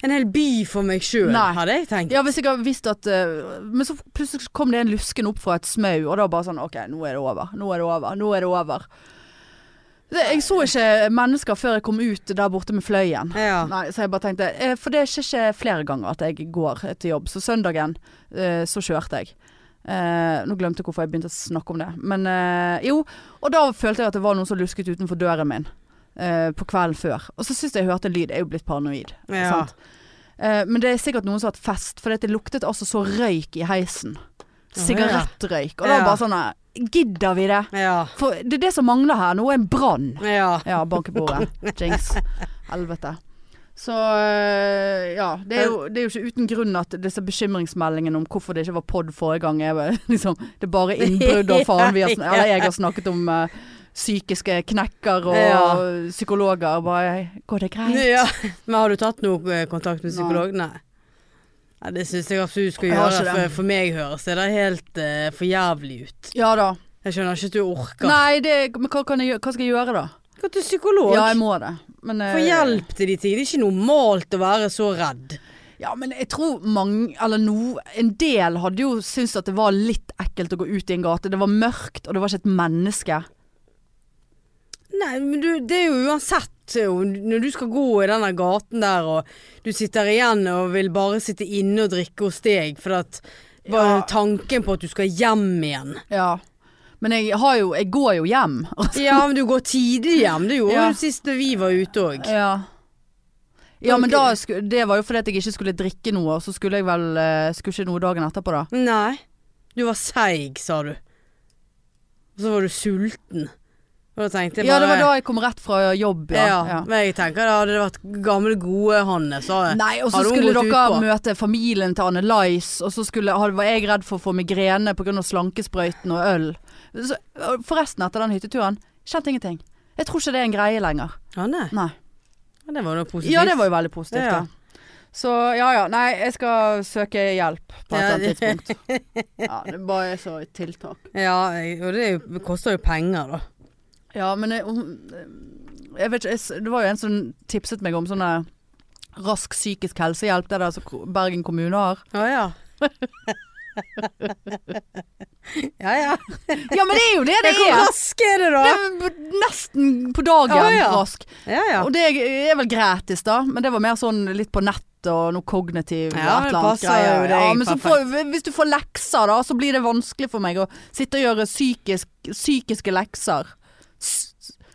[SPEAKER 2] En hel by for meg sjøl,
[SPEAKER 1] Nei.
[SPEAKER 2] hadde jeg tenkt.
[SPEAKER 1] Ja, hvis jeg hadde visst at eh, Men så plutselig kom det en lusken opp fra et smau, og da bare sånn OK, nå er det over. Nå er det over. Nå er det over. Det, jeg så ikke mennesker før jeg kom ut der borte med fløyen.
[SPEAKER 2] Ja.
[SPEAKER 1] Nei, så jeg bare tenkte eh, For det skjer ikke flere ganger at jeg går til jobb. Så søndagen eh, så kjørte jeg. Eh, nå glemte jeg hvorfor jeg begynte å snakke om det. Men eh, jo, og da følte jeg at det var noen som lusket utenfor døren min eh, på kvelden før. Og så syns jeg jeg hørte en lyd. Jeg er jo blitt paranoid.
[SPEAKER 2] Ja.
[SPEAKER 1] Sant? Eh, men det er sikkert noen som har hatt fest, for det luktet altså så røyk i heisen. Sigarettrøyk. Og da
[SPEAKER 2] Ja.
[SPEAKER 1] bare sånn eh, Gidder vi det?
[SPEAKER 2] Ja.
[SPEAKER 1] For det er det som mangler her nå, er en brann.
[SPEAKER 2] ja.
[SPEAKER 1] Ja, bank i bordet. Jinx. Helvete. Så øh, ja. Det er, jo, det er jo ikke uten grunn at disse bekymringsmeldingene om hvorfor det ikke var pod forrige gang, er vel liksom Det er bare innbrudd og faen vi har, sn- eller jeg har snakket om øh, psykiske knekker og
[SPEAKER 2] Ja.
[SPEAKER 1] psykologer. Bare Går det greit?
[SPEAKER 2] ja. Men har du tatt noe eh, kontakt med psykolog? Nei. Nei, det syns jeg absolutt du skal
[SPEAKER 1] Jeg har
[SPEAKER 2] gjøre.
[SPEAKER 1] ikke det.
[SPEAKER 2] For, for meg høres det der helt eh, for jævlig ut.
[SPEAKER 1] Ja da.
[SPEAKER 2] Jeg skjønner ikke at du orker.
[SPEAKER 1] Nei, det, men hva, kan jeg, gjøre- hva skal jeg gjøre da?
[SPEAKER 2] Gå til psykolog.
[SPEAKER 1] Ja, jeg må det. Men, eh,
[SPEAKER 2] Få hjelp til de tingene. Det er ikke normalt å være så redd.
[SPEAKER 1] Ja, men jeg tror mange, eller no, en del hadde jo syntes at det var litt ekkelt å gå ut i en gate. Det var mørkt, og det var ikke et menneske.
[SPEAKER 2] Nei, men du, det er jo uansett jo, Når du skal gå i denne gaten der, og du sitter igjen og vil bare sitte inne og drikke hos deg, for at bare
[SPEAKER 1] Ja.
[SPEAKER 2] tanken på at du skal hjem igjen
[SPEAKER 1] Ja. Men jeg har jo, jeg går jo hjem.
[SPEAKER 2] Ja, men du går tidlig hjem. Det gjorde
[SPEAKER 1] Ja.
[SPEAKER 2] du sist når vi var ute òg.
[SPEAKER 1] Ja. Ja, men da, sku- det var jo fordi at jeg ikke skulle drikke noe, og så skulle jeg vel eh, Skulle ikke noe dagen etterpå, da.
[SPEAKER 2] Nei. Du var seig, sa du. Og så var du sulten. Og da tenkte jeg bare
[SPEAKER 1] ja, det var da jeg kom rett fra jobb, ja.
[SPEAKER 2] Ja,
[SPEAKER 1] ja.
[SPEAKER 2] men jeg tenker da hadde det vært gamle gode Hanne, sa jeg.
[SPEAKER 1] Nei, og så
[SPEAKER 2] Hadde hun
[SPEAKER 1] skulle
[SPEAKER 2] gått
[SPEAKER 1] dere
[SPEAKER 2] utpå?
[SPEAKER 1] møte familien til Anne Lais, og så skulle, hadde- var jeg redd for å få migrene pga. slankesprøyten og øl. Så, forresten, etter den hytteturen, kjente ingenting. Jeg tror ikke det er en greie lenger.
[SPEAKER 2] Ja, nei.
[SPEAKER 1] Nei.
[SPEAKER 2] Ja, Det var noe positivt.
[SPEAKER 1] Ja, det var jo veldig positivt,
[SPEAKER 2] Ja, ja.
[SPEAKER 1] da. Så ja ja, nei, jeg skal søke hjelp på et
[SPEAKER 2] Ja,
[SPEAKER 1] eller annet tidspunkt. Ja, det bare er så et tiltak.
[SPEAKER 2] Ja, jeg- og det, er jo- det koster jo penger, da.
[SPEAKER 1] Ja, men jeg, hun- jeg vet ikke, jeg, s- det var jo en som tipset meg om sånne rask psykisk helsehjelp, det der som ko- Bergen kommune har.
[SPEAKER 2] Ja, ja. ja, ja.
[SPEAKER 1] Ja, men det er jo det det
[SPEAKER 2] Hvor
[SPEAKER 1] er!
[SPEAKER 2] rask er det,
[SPEAKER 1] Det
[SPEAKER 2] da?
[SPEAKER 1] er b- nesten på dagen
[SPEAKER 2] Ja, ja.
[SPEAKER 1] rask.
[SPEAKER 2] Ja, ja.
[SPEAKER 1] Og det er vel gratis, da, men det var mer sånn litt på nett. Og noe kognitiv og
[SPEAKER 2] Ja,
[SPEAKER 1] et
[SPEAKER 2] det
[SPEAKER 1] eller annet
[SPEAKER 2] passer jo
[SPEAKER 1] greier.
[SPEAKER 2] deg
[SPEAKER 1] Ja, men så
[SPEAKER 2] perfekt.
[SPEAKER 1] får, hvis du får lekser, da, så blir det vanskelig for meg å sitte og gjøre psykisk, psykiske lekser. S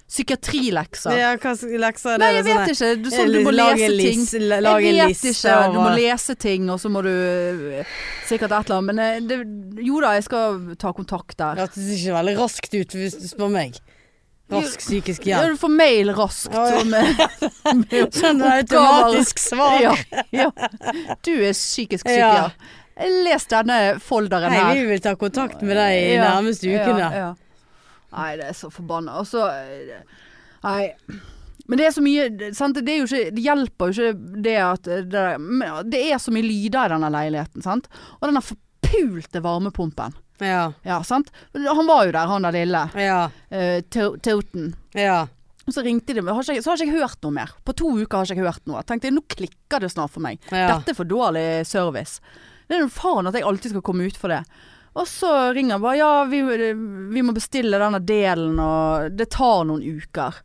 [SPEAKER 1] psykiatrilekser.
[SPEAKER 2] ja hva slags lekser er det?
[SPEAKER 1] Nei, jeg vet ikke. Du, sånn, du må
[SPEAKER 2] Lag
[SPEAKER 1] lese
[SPEAKER 2] en
[SPEAKER 1] ting.
[SPEAKER 2] lis- la-
[SPEAKER 1] Jeg
[SPEAKER 2] Lag en
[SPEAKER 1] vet
[SPEAKER 2] liste.
[SPEAKER 1] ikke. Du må
[SPEAKER 2] over-
[SPEAKER 1] lese ting, og så må du eh, sikkert et eller annet. Men eh, det, jo da, jeg skal ta kontakt der.
[SPEAKER 2] Det hørtes ikke veldig raskt ut, hvis du spør meg. Rask psykisk
[SPEAKER 1] Ja,
[SPEAKER 2] hjelp.
[SPEAKER 1] du får mail raskt.
[SPEAKER 2] Ja, ja.
[SPEAKER 1] om, eh,
[SPEAKER 2] Sånn
[SPEAKER 1] automatisk
[SPEAKER 2] automatisk svar.
[SPEAKER 1] Ja, ja. Du er psykisk syk, ja.
[SPEAKER 2] Ja.
[SPEAKER 1] Les denne folderen
[SPEAKER 2] Hei,
[SPEAKER 1] her.
[SPEAKER 2] vi vil ta kontakt med deg i
[SPEAKER 1] Ja,
[SPEAKER 2] nærmeste ukene.
[SPEAKER 1] Ja, ja. Nei, det er så forbanna. Og så eh, Nei. Men det er så mye sant? Det, er jo ikke, det hjelper jo ikke det at eh, det, men det er så mye lyder i denne leiligheten, sant. Og denne forpulte varmepumpen.
[SPEAKER 2] Ja.
[SPEAKER 1] Ja, sant. Han var jo der, han der lille.
[SPEAKER 2] Ja.
[SPEAKER 1] eh, To- Toten.
[SPEAKER 2] ja.
[SPEAKER 1] Og så ringte de, men har ikke, jeg- så har ikke jeg hørt noe mer. På to uker har ikke jeg hørt noe. Tenkte jeg, nå klikker det snart for meg.
[SPEAKER 2] Ja.
[SPEAKER 1] Dette er for dårlig service. Det er noe faen at jeg alltid skal komme ut for det. Og så ringer han bare, ja, vi, vi må bestille denne delen, og det tar noen uker.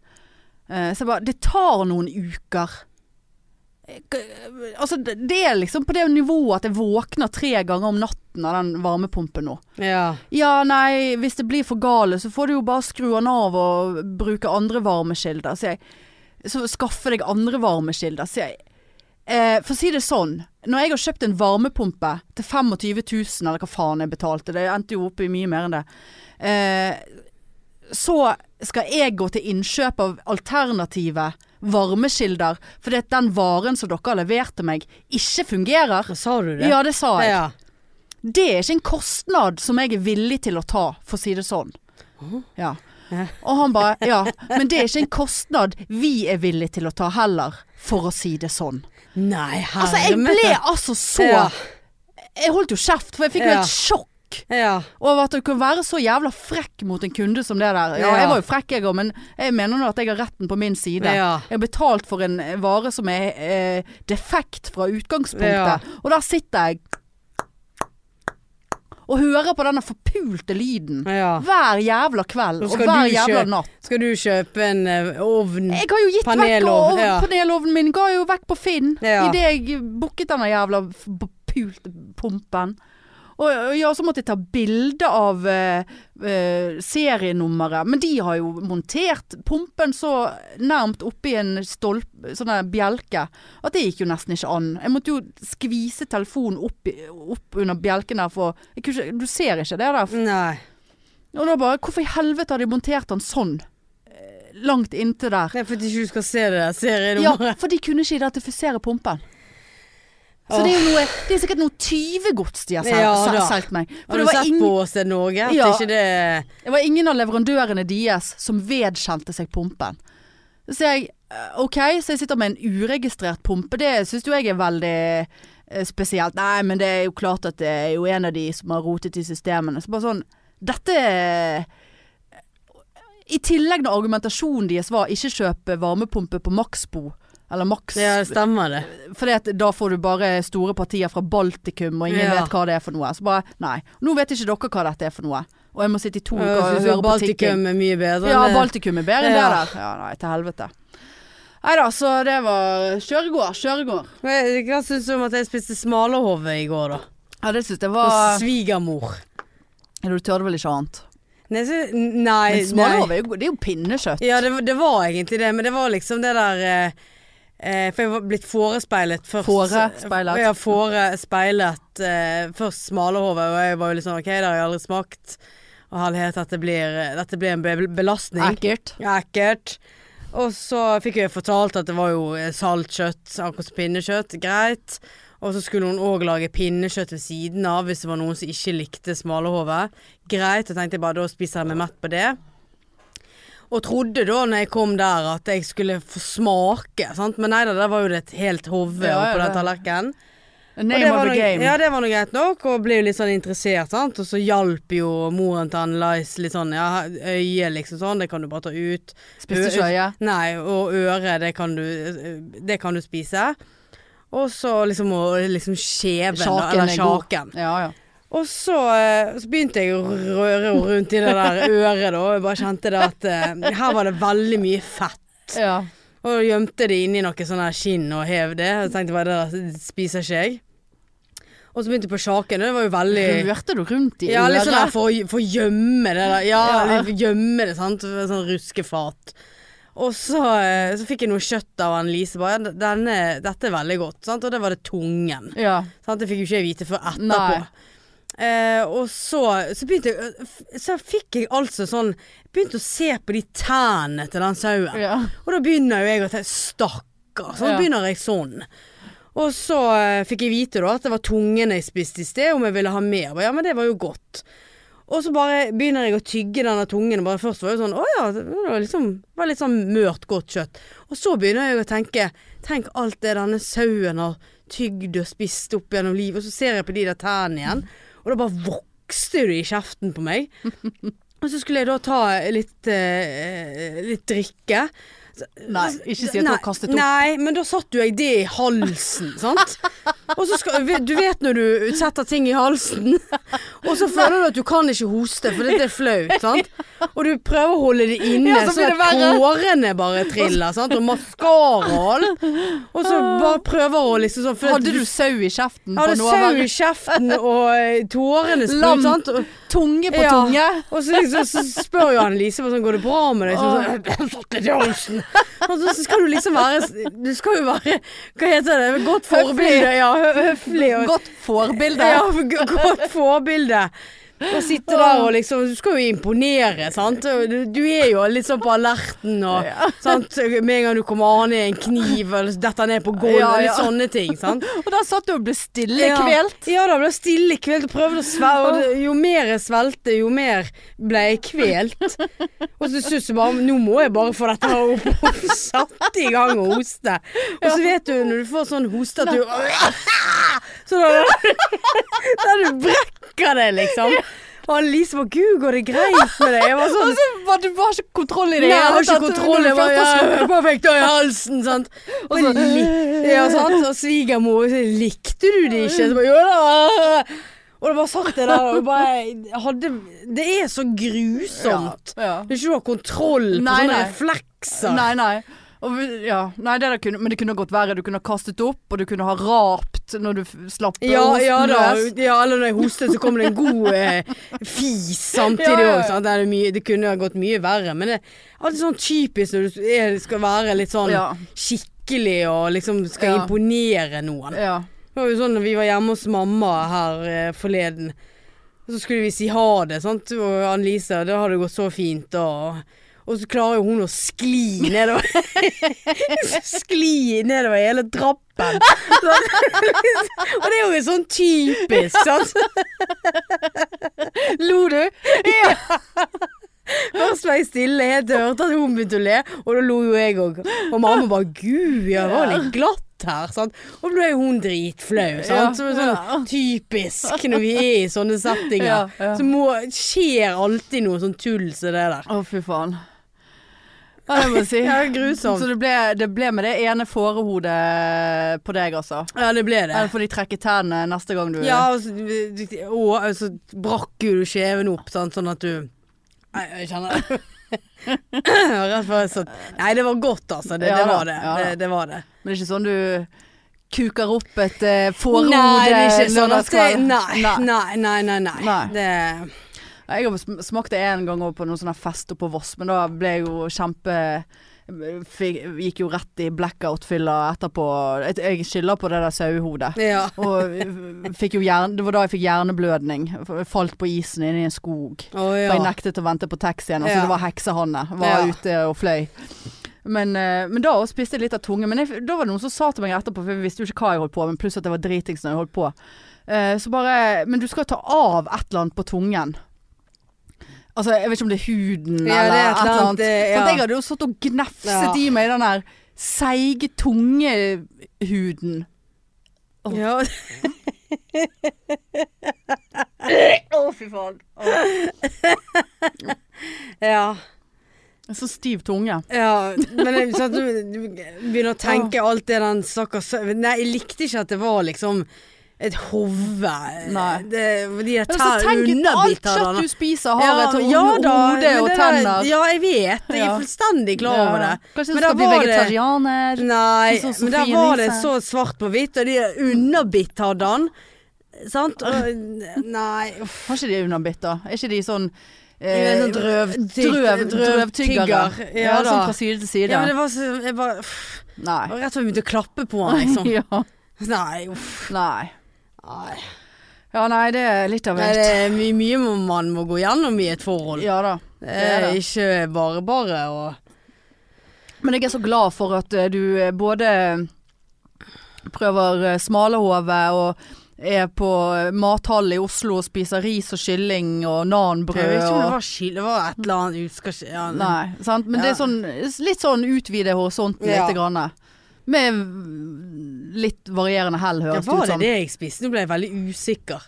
[SPEAKER 1] Eh, Så jeg bare, det tar noen uker. Eh, k- Altså, det det er liksom på det nivået at jeg våkner tre ganger om natten av den varmepumpen nå.
[SPEAKER 2] ja.
[SPEAKER 1] Ja, nei, hvis det blir for gale, så får du jo bare skru den av og bruke andre varmeskilder, sier jeg. Så skaffe deg andre varmeskilder, sier jeg. Eh, for å si det sånn, når jeg har kjøpt en varmepumpe til 25 000, eller hva faen jeg betalte, det endte jo opp i mye mer enn det, eh, så skal jeg gå til innkjøp av alternative varmeskilder, fordi at den varen som dere har levert til meg, ikke fungerer.
[SPEAKER 2] Nå sa du det.
[SPEAKER 1] Ja, det sa jeg.
[SPEAKER 2] Ja.
[SPEAKER 1] Det er ikke en kostnad som jeg er villig til å ta, for å si det sånn. Ja. Og han bare Ja, men det er ikke en kostnad vi er villig til å ta heller, for å si det sånn.
[SPEAKER 2] Nei, herre
[SPEAKER 1] Altså, jeg ble altså så
[SPEAKER 2] Ja.
[SPEAKER 1] Jeg holdt jo kjeft, for jeg fikk jo
[SPEAKER 2] Ja.
[SPEAKER 1] helt sjokk
[SPEAKER 2] Ja.
[SPEAKER 1] over at du kan være så jævla frekk mot en kunde som det der. Ja,
[SPEAKER 2] Ja.
[SPEAKER 1] jeg var jo frekk jeg òg, men jeg mener nå at jeg har retten på min side.
[SPEAKER 2] Ja.
[SPEAKER 1] Jeg har betalt for en eh, vare som er eh, defekt fra
[SPEAKER 2] Ja.
[SPEAKER 1] utgangspunktet, og der sitter jeg og hører på denne forpulte lyden
[SPEAKER 2] ja.
[SPEAKER 1] hver jævla kveld
[SPEAKER 2] Nå
[SPEAKER 1] og
[SPEAKER 2] skal
[SPEAKER 1] hver
[SPEAKER 2] du
[SPEAKER 1] jævla
[SPEAKER 2] kjø-
[SPEAKER 1] natt.
[SPEAKER 2] Skal du kjøpe en eh, ovn?
[SPEAKER 1] Jeg har jo gitt vekk og,
[SPEAKER 2] Panelov,
[SPEAKER 1] og
[SPEAKER 2] ja.
[SPEAKER 1] panelovnen min, ga jeg jo vekk på Finn
[SPEAKER 2] Ja.
[SPEAKER 1] idet jeg booket denne jævla f- b- pulte pumpen. Og, og ja, så måtte jeg ta bilde av eh, eh, serienummeret, men de har jo montert pumpen så nærmt oppi en stolp, sånn der bjelke at det gikk jo nesten ikke an. Jeg måtte jo skvise telefonen opp, i- opp under bjelken der, for jeg kunne ikke, du ser ikke det der.
[SPEAKER 2] Nei.
[SPEAKER 1] Og da bare Hvorfor i helvete har de montert den sånn? Eh, Langt inntil der.
[SPEAKER 2] Det er fordi ikke du skal se det der
[SPEAKER 1] Ja,
[SPEAKER 2] serienummeret.
[SPEAKER 1] for de kunne ikke identifisere pumpen. Så det er jo noe Det er sikkert noe tyvegods de har sel-
[SPEAKER 2] Ja,
[SPEAKER 1] sel-
[SPEAKER 2] da.
[SPEAKER 1] solgt meg. For det
[SPEAKER 2] Har du
[SPEAKER 1] var,
[SPEAKER 2] sett
[SPEAKER 1] ingen,
[SPEAKER 2] på Åsted Norge? At
[SPEAKER 1] Ja.
[SPEAKER 2] ikke det
[SPEAKER 1] det var ingen av leverandørene deres som vedkjente seg pumpen. Så sier jeg eh, OK, så jeg sitter med en uregistrert pumpe. Det syns jo jeg er veldig eh, spesielt. Nei, men det er jo klart at det er jo en av de som har rotet i systemene. Så bare sånn Dette er- I tillegg når argumentasjonen deres var ikke kjøp varmepumpe på Maxbo. Eller Max.
[SPEAKER 2] Ja, det stemmer det.
[SPEAKER 1] Fordi at da får du bare store partier fra Baltikum, og ingen
[SPEAKER 2] Ja.
[SPEAKER 1] vet hva det er for noe. Så bare nei. Nå vet ikke dere hva dette er for noe. Og jeg må sitte i to uker
[SPEAKER 2] Jeg
[SPEAKER 1] og
[SPEAKER 2] syns
[SPEAKER 1] høre på tikking.
[SPEAKER 2] Baltikum er mye bedre.
[SPEAKER 1] Ja,
[SPEAKER 2] enn det.
[SPEAKER 1] Baltikum er bedre enn det
[SPEAKER 2] Ja.
[SPEAKER 1] der. Ja, nei, til helvete. Nei da, så det var kjøregård. Kjøregård.
[SPEAKER 2] Men Hva syns du om at jeg spiste smalahove i går, da?
[SPEAKER 1] Ja, det syns jeg
[SPEAKER 2] Og
[SPEAKER 1] var
[SPEAKER 2] svigermor.
[SPEAKER 1] Ja, Du tørde vel ikke annet?
[SPEAKER 2] Nei, så- nei,
[SPEAKER 1] Men
[SPEAKER 2] nei.
[SPEAKER 1] smalahove er jo go- Det er jo pinnekjøtt.
[SPEAKER 2] Ja, det, var- det var egentlig det, men det var liksom det der eh, eh, For jeg var blitt forespeilet først.
[SPEAKER 1] Forespeilet.
[SPEAKER 2] Ja, forespeilet eh, først smalahove, og jeg var jo litt sånn OK, det har jeg aldri smakt. Og herlighet, dette blir, dette blir en be- belastning.
[SPEAKER 1] Ekkelt.
[SPEAKER 2] Ja, Ekkelt. Og så fikk jeg fortalt at det var jo eh, saltkjøtt, akkurat som pinnekjøtt. Greit. Og så skulle hun òg lage pinnekjøtt ved siden av hvis det var noen som ikke likte smalahove. Greit, og tenkte jeg bare da spiser jeg meg mett på det. Og trodde da når jeg kom der at jeg skulle få smake, sant? men nei da, der var jo det et helt hove
[SPEAKER 1] Ja, ja,
[SPEAKER 2] oppå den
[SPEAKER 1] ja.
[SPEAKER 2] tallerkenen. Og
[SPEAKER 1] Name
[SPEAKER 2] det var
[SPEAKER 1] of the
[SPEAKER 2] noe-
[SPEAKER 1] game.
[SPEAKER 2] Ja, det var noe greit nok, og ble jo litt sånn interessert, sant. Og så hjalp jo moren til han Lice litt sånn, ja, øyet liksom sånn, det kan du bare ta ut.
[SPEAKER 1] Spiste ikke øye.
[SPEAKER 2] Nei, og øre, det kan du, det kan du spise. Og så liksom, og liksom skjeven, da,
[SPEAKER 1] Sjaken
[SPEAKER 2] eller
[SPEAKER 1] er god.
[SPEAKER 2] sjaken.
[SPEAKER 1] Ja, ja.
[SPEAKER 2] Og så, eh, så begynte jeg å røre rundt i det der øret, da, og jeg bare kjente det at eh, her var det veldig mye fett.
[SPEAKER 1] ja.
[SPEAKER 2] Og gjemte det inni noe sånn her skinn og hev det. Og tenkte bare det der spiser ikke jeg. Og så begynte jeg på sjaken, og det var jo veldig
[SPEAKER 1] Rørte du rundt i
[SPEAKER 2] Ja, litt sånn der
[SPEAKER 1] øret?
[SPEAKER 2] for, å- for å gjemme det der. Ja,
[SPEAKER 1] Ja.
[SPEAKER 2] for å gjemme det, sant. Sånn ruskefat. Og så, eh, så fikk jeg noe kjøtt av han Lise. Bare, ja, denne, dette er veldig godt, sant. Og det var det tungen.
[SPEAKER 1] Ja.
[SPEAKER 2] Sant? Det fikk jo ikke jeg vite før etterpå.
[SPEAKER 1] Nei.
[SPEAKER 2] Eh, og så, så begynte jeg eh, Så fikk jeg altså sånn Begynte å se på de tærne til den sauen.
[SPEAKER 1] ja.
[SPEAKER 2] Og da begynner jo jeg å tenke Stakkar, så
[SPEAKER 1] Ja.
[SPEAKER 2] begynner jeg sånn. Og så eh, fikk jeg vite da at det var tungen jeg spiste i sted, om jeg ville ha mer. Jeg Bare, ja, men det var jo godt. Og så bare begynner jeg å tygge denne tungen. Og bare først var det jo sånn Å ja, det var, liksom, det var litt sånn mørt, godt kjøtt. Og så begynner jeg å tenke Tenk alt det denne sauen har tygd og spist opp gjennom livet. Og så ser jeg på de der tærne igjen, og da bare vokste det i kjeften på meg. Og så skulle jeg da ta litt, eh, litt drikke. Så- altså,
[SPEAKER 1] Nei, ikke si at du har kastet opp.
[SPEAKER 2] Nei, men da satt jo jeg det i halsen, sant. Og så skal, Du vet når du setter ting i halsen, og så føler du at du kan ikke hoste, for det er flaut, sant. Og du prøver å holde det inne,
[SPEAKER 1] Ja, så
[SPEAKER 2] så
[SPEAKER 1] blir det
[SPEAKER 2] at
[SPEAKER 1] verre.
[SPEAKER 2] tårene bare triller, sant. Og maskara og alt. Og så bare prøver å liksom sånn for at
[SPEAKER 1] Hadde du sau i kjeften?
[SPEAKER 2] Jeg hadde
[SPEAKER 1] på noe av
[SPEAKER 2] sau i
[SPEAKER 1] hver-
[SPEAKER 2] kjeften, og eh, tårene
[SPEAKER 1] Lam.
[SPEAKER 2] sprut, sant. Og,
[SPEAKER 1] Tunge på
[SPEAKER 2] Ja.
[SPEAKER 1] tunge?
[SPEAKER 2] og så, liksom, så spør jo han Lise bare sånn, går det bra med deg? Så,
[SPEAKER 1] Åh.
[SPEAKER 2] sånn, «Jeg har fått litt i halsen. Og så skal du liksom være Du skal jo være Hva heter det? Godt forbilde. Ja, hø- høflig. Og,
[SPEAKER 1] Godt forbilde.
[SPEAKER 2] Ja, g- godt forbilde. Å sitte der og liksom Du skal jo imponere, sant. Og Du, du er jo litt sånn på alerten og sant? Med en gang du kommer an i en kniv eller detter ned på gulvet,
[SPEAKER 1] Ja, ja.
[SPEAKER 2] litt sånne ting. sant?
[SPEAKER 1] Og der satt du og ble stille i kveld.
[SPEAKER 2] Ja, ja da ble jeg stille kvelt og prøvde å svelge. og det- Jo mer jeg svelgte, jo mer ble jeg kvelt. Og så syntes jeg bare nå må jeg bare få dette her opp og satte i gang å hoste. Og så vet du når du får sånn hoste at du Så da, da du brekker deg, liksom. Og Lise var Gud, går det greit med deg? Jeg var sånn
[SPEAKER 1] Og så var Altså, det var ikke kontroll i det.
[SPEAKER 2] Nei, jeg har
[SPEAKER 1] hele
[SPEAKER 2] ikke
[SPEAKER 1] tatt.
[SPEAKER 2] kontroll. Jeg
[SPEAKER 1] Når
[SPEAKER 2] bare,
[SPEAKER 1] du først har
[SPEAKER 2] jeg bare fikk det i halsen, sant. Og så
[SPEAKER 1] Oi.
[SPEAKER 2] ja, sant? Og svigermor så likte du det ikke? Så bare, jo da. Og det bare satt jeg der og bare jeg hadde, Det er så grusomt.
[SPEAKER 1] slått. Ja.
[SPEAKER 2] Når du ikke har kontroll på
[SPEAKER 1] Nei,
[SPEAKER 2] sånne
[SPEAKER 1] nei.
[SPEAKER 2] reflekser.
[SPEAKER 1] Nei, nei. Og, vi- ja. nei det der kunne, men det kunne gått verre. Du kunne ha kastet opp, og du kunne ha rapt når du f- slapp
[SPEAKER 2] Ja,
[SPEAKER 1] hosten
[SPEAKER 2] ja da.
[SPEAKER 1] løs.
[SPEAKER 2] Ja, eller når jeg hostet, så kom det en god eh, fis samtidig
[SPEAKER 1] Ja, ja, ja.
[SPEAKER 2] også, sant? Det, er mye- det kunne ha gått mye verre, men det er alltid sånn typisk når du er, skal være litt sånn
[SPEAKER 1] Ja.
[SPEAKER 2] skikkelig og liksom skal
[SPEAKER 1] Ja.
[SPEAKER 2] imponere noen.
[SPEAKER 1] Ja.
[SPEAKER 2] Det var jo sånn når vi var hjemme hos mamma her eh, forleden. Så skulle vi si ha det, sant. Og Annelise, det hadde gått så fint, og Og så klarer jo hun å skli nedover Skli nedover hele trappen. Så, og det er jo sånn typisk, sant. Lo du? Ja. Først var jeg stille helt til jeg hørte at hun begynte å le, og da lo jo jeg òg. Og mamma bare 'Gud, ja, det var litt glatt ut her, sant. Og ble jo hun dritflau, sant. Som er sånn
[SPEAKER 1] Ja.
[SPEAKER 2] typisk når vi er i sånne settinger.
[SPEAKER 1] Ja, ja.
[SPEAKER 2] Så må, skjer alltid noe sånn tull som det der.
[SPEAKER 1] Å, fy faen. Ja, det må jeg si.
[SPEAKER 2] Ja, det er sånn. grusomt.
[SPEAKER 1] Så det ble, det ble med det ene fårehodet på deg, altså.
[SPEAKER 2] Ja, det ble det.
[SPEAKER 1] Eller får de trekke tennene neste gang du
[SPEAKER 2] Ja, altså, og så- og og så altså, brakk jo du kjeven opp, sant? sånn at du Nei, jeg kjenner det. Rett før jeg satt sånn- Nei, det var godt, altså. Det,
[SPEAKER 1] Ja
[SPEAKER 2] det
[SPEAKER 1] da,
[SPEAKER 2] var det.
[SPEAKER 1] ja da.
[SPEAKER 2] det, det, var det.
[SPEAKER 1] Men det er ikke sånn du kuker opp et eh, fårehode
[SPEAKER 2] Nei, det er ikke sånn at det,
[SPEAKER 1] lørdagskveld?
[SPEAKER 2] nei,
[SPEAKER 1] Nei.
[SPEAKER 2] nei, nei, nei, nei.
[SPEAKER 1] Nei.
[SPEAKER 2] Det,
[SPEAKER 1] Jeg har sm- smakt det en gang også på noen sånne fest oppe på Voss, men da ble jeg jo kjempe fikk, Gikk jo rett i blackout-fylla etterpå. Jeg- Jeg skylder på det der sauehodet.
[SPEAKER 2] ja.
[SPEAKER 1] Og fikk jo hjerne, det var da jeg fikk hjerneblødning. F- Falt på isen inne i en skog.
[SPEAKER 2] Å
[SPEAKER 1] For jeg
[SPEAKER 2] ja.
[SPEAKER 1] nektet å vente på taxien. Altså
[SPEAKER 2] Ja.
[SPEAKER 1] det var heksehanne. Var
[SPEAKER 2] Ja.
[SPEAKER 1] ute og fløy. Men, eh, men da også spiste jeg litt av tunge. Men jeg, da var det noen som sa til meg etterpå, for jeg visste jo ikke hva jeg holdt på med, pluss at jeg var dritings når jeg holdt på. Eh, så bare Men du skal ta av et eller annet på tungen. Altså, jeg vet ikke om det er huden
[SPEAKER 2] Ja,
[SPEAKER 1] eller
[SPEAKER 2] det er
[SPEAKER 1] et eller annet.
[SPEAKER 2] eh,
[SPEAKER 1] For
[SPEAKER 2] ja.
[SPEAKER 1] at jeg hadde jo satt og gnefset
[SPEAKER 2] Ja.
[SPEAKER 1] i meg den der seige tungehuden. Åh.
[SPEAKER 2] ja.
[SPEAKER 1] Å, fy faen.
[SPEAKER 2] ja.
[SPEAKER 1] Så stiv tunge.
[SPEAKER 2] Ja, men jeg, sånn, at du, du begynner å tenke alt det den stakkars Nei, jeg likte ikke at det var liksom et hode.
[SPEAKER 1] Nei.
[SPEAKER 2] Det, de
[SPEAKER 1] Men
[SPEAKER 2] der
[SPEAKER 1] altså, tenk
[SPEAKER 2] tær-
[SPEAKER 1] ut alt
[SPEAKER 2] underbiter
[SPEAKER 1] kjøtt
[SPEAKER 2] der,
[SPEAKER 1] du spiser har et ho-
[SPEAKER 2] da,
[SPEAKER 1] hode
[SPEAKER 2] men
[SPEAKER 1] og
[SPEAKER 2] det der-
[SPEAKER 1] tenner.
[SPEAKER 2] Ja, jeg vet. Jeg
[SPEAKER 1] Ja.
[SPEAKER 2] er fullstendig klar over det.
[SPEAKER 1] Kanskje du
[SPEAKER 2] Men da
[SPEAKER 1] skal bli
[SPEAKER 2] var det-
[SPEAKER 1] vegetarianer.
[SPEAKER 2] Nei,
[SPEAKER 1] Sånn som
[SPEAKER 2] men der
[SPEAKER 1] Sofie
[SPEAKER 2] var det
[SPEAKER 1] Elise.
[SPEAKER 2] så svart på hvitt, og de der underbitt hadde han. Sant? Og, nei, uff.
[SPEAKER 1] Har ikke de underbitt, da? Er ikke de sånn
[SPEAKER 2] Jeg er sånn drøvtygg-
[SPEAKER 1] drøv, drøvtyggere?
[SPEAKER 2] drøvtygger.
[SPEAKER 1] Ja,
[SPEAKER 2] Ja
[SPEAKER 1] sånn
[SPEAKER 2] da.
[SPEAKER 1] fra side til side.
[SPEAKER 2] Ja, men det var så Jeg bare uff. Jeg
[SPEAKER 1] Nei.
[SPEAKER 2] var Rett og slett begynte å klappe på han, liksom.
[SPEAKER 1] ja.
[SPEAKER 2] Nei, uff.
[SPEAKER 1] nei.
[SPEAKER 2] Nei.
[SPEAKER 1] Ja, nei, det er litt av
[SPEAKER 2] Nei,
[SPEAKER 1] et
[SPEAKER 2] det er mye, mye må- man må gå gjennom i et forhold.
[SPEAKER 1] Ja da.
[SPEAKER 2] det
[SPEAKER 1] det er
[SPEAKER 2] er
[SPEAKER 1] det.
[SPEAKER 2] ikke bare bare å
[SPEAKER 1] Men jeg er så glad for at eh, du eh, både prøver eh, smalahove og er på eh, mathallet i Oslo og spiser ris og kylling og
[SPEAKER 2] Jeg vet
[SPEAKER 1] nanbrød
[SPEAKER 2] ikke om det
[SPEAKER 1] og
[SPEAKER 2] var skyld, det var et eller annet utskasj... Ja, nei.
[SPEAKER 1] Nei, sant? Men det er
[SPEAKER 2] Ja.
[SPEAKER 1] sånn, litt sånn utvide horisonten
[SPEAKER 2] Ja.
[SPEAKER 1] lite grann. Med litt varierende hell,
[SPEAKER 2] Ja,
[SPEAKER 1] høres det
[SPEAKER 2] var sånn-
[SPEAKER 1] ut
[SPEAKER 2] det
[SPEAKER 1] som.
[SPEAKER 2] det jeg spiste? Nå ble jeg veldig usikker.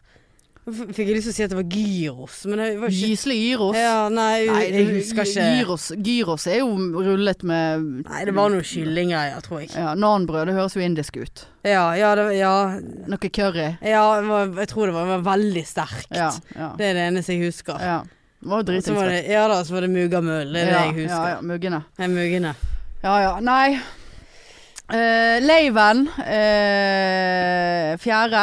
[SPEAKER 2] Nå f- Fikk jeg lyst til å si at det var gyros, men det var ikke
[SPEAKER 1] Gysle gyros.
[SPEAKER 2] Ja, nei,
[SPEAKER 1] Nei,
[SPEAKER 2] jeg husker ikke.
[SPEAKER 1] Gyros, gyros er jo rullet med
[SPEAKER 2] Nei, det var noe kyllinggreier, tror jeg.
[SPEAKER 1] ja, Nanbrød, det høres jo indisk ut.
[SPEAKER 2] Ja, ja, det, var- ja,
[SPEAKER 1] Noe curry.
[SPEAKER 2] ja det var, jeg tror det var, det var veldig sterkt.
[SPEAKER 1] Ja. ja,
[SPEAKER 2] Det er det eneste jeg husker.
[SPEAKER 1] ja. Det var jo
[SPEAKER 2] Så
[SPEAKER 1] dritings.
[SPEAKER 2] var det, ja da, så var det muggamøll. Det er det
[SPEAKER 1] ja,
[SPEAKER 2] jeg
[SPEAKER 1] Ja,
[SPEAKER 2] husker.
[SPEAKER 1] ja, muggene.
[SPEAKER 2] Det er muggene.
[SPEAKER 1] Ja ja, nei. Eh, Leiven eh, fjerde.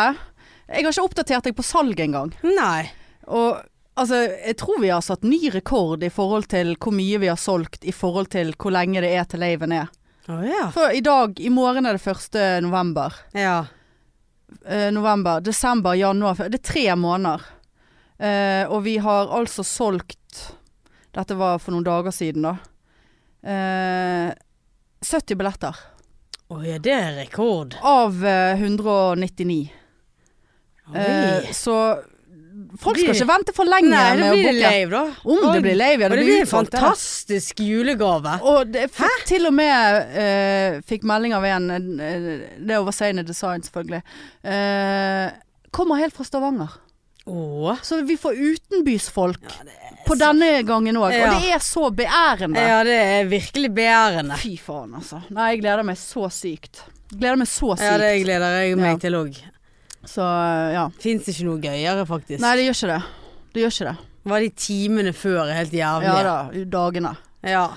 [SPEAKER 1] Jeg har ikke oppdatert deg på salg engang.
[SPEAKER 2] Nei.
[SPEAKER 1] Og altså, jeg tror vi har satt ny rekord i forhold til hvor mye vi har solgt i forhold til hvor lenge det er til laven er.
[SPEAKER 2] Å ja.
[SPEAKER 1] For i dag, i morgen er det 1. november.
[SPEAKER 2] Ja.
[SPEAKER 1] Eh, november, desember, januar fe- Det er tre måneder. Eh, og vi har altså solgt Dette var for noen dager siden, da. Eh, 70 billetter.
[SPEAKER 2] Å ja, det er rekord.
[SPEAKER 1] Av eh, 199. Eh, så folk skal
[SPEAKER 2] Blir-
[SPEAKER 1] ikke vente for lenge
[SPEAKER 2] Nei, det
[SPEAKER 1] med å
[SPEAKER 2] blir det
[SPEAKER 1] booke.
[SPEAKER 2] lave, da.
[SPEAKER 1] Om det blir lave, ja.
[SPEAKER 2] Og
[SPEAKER 1] Det
[SPEAKER 2] det
[SPEAKER 1] blir
[SPEAKER 2] blir en
[SPEAKER 1] utsolgt, det der.
[SPEAKER 2] fantastisk julegave.
[SPEAKER 1] Og det, fikk til og med eh, fikk melding av en eh, Det er over Seine Design, selvfølgelig. Eh, kommer helt fra Stavanger.
[SPEAKER 2] Å.
[SPEAKER 1] Så vi får utenbysfolk på denne gangen òg.
[SPEAKER 2] Ja.
[SPEAKER 1] Og det er så beærende.
[SPEAKER 2] Ja, det er virkelig begjærende.
[SPEAKER 1] Fy faen, altså. Nei, jeg gleder meg så sykt. Gleder meg så sykt.
[SPEAKER 2] Ja, det gleder jeg meg
[SPEAKER 1] Ja.
[SPEAKER 2] til òg.
[SPEAKER 1] Så eh, ja.
[SPEAKER 2] Fins ikke noe gøyere, faktisk.
[SPEAKER 1] Nei, det gjør ikke det. Det gjør ikke det.
[SPEAKER 2] Var de timene før er helt
[SPEAKER 1] Ja
[SPEAKER 2] jævlige.
[SPEAKER 1] da, dagene.
[SPEAKER 2] Ja.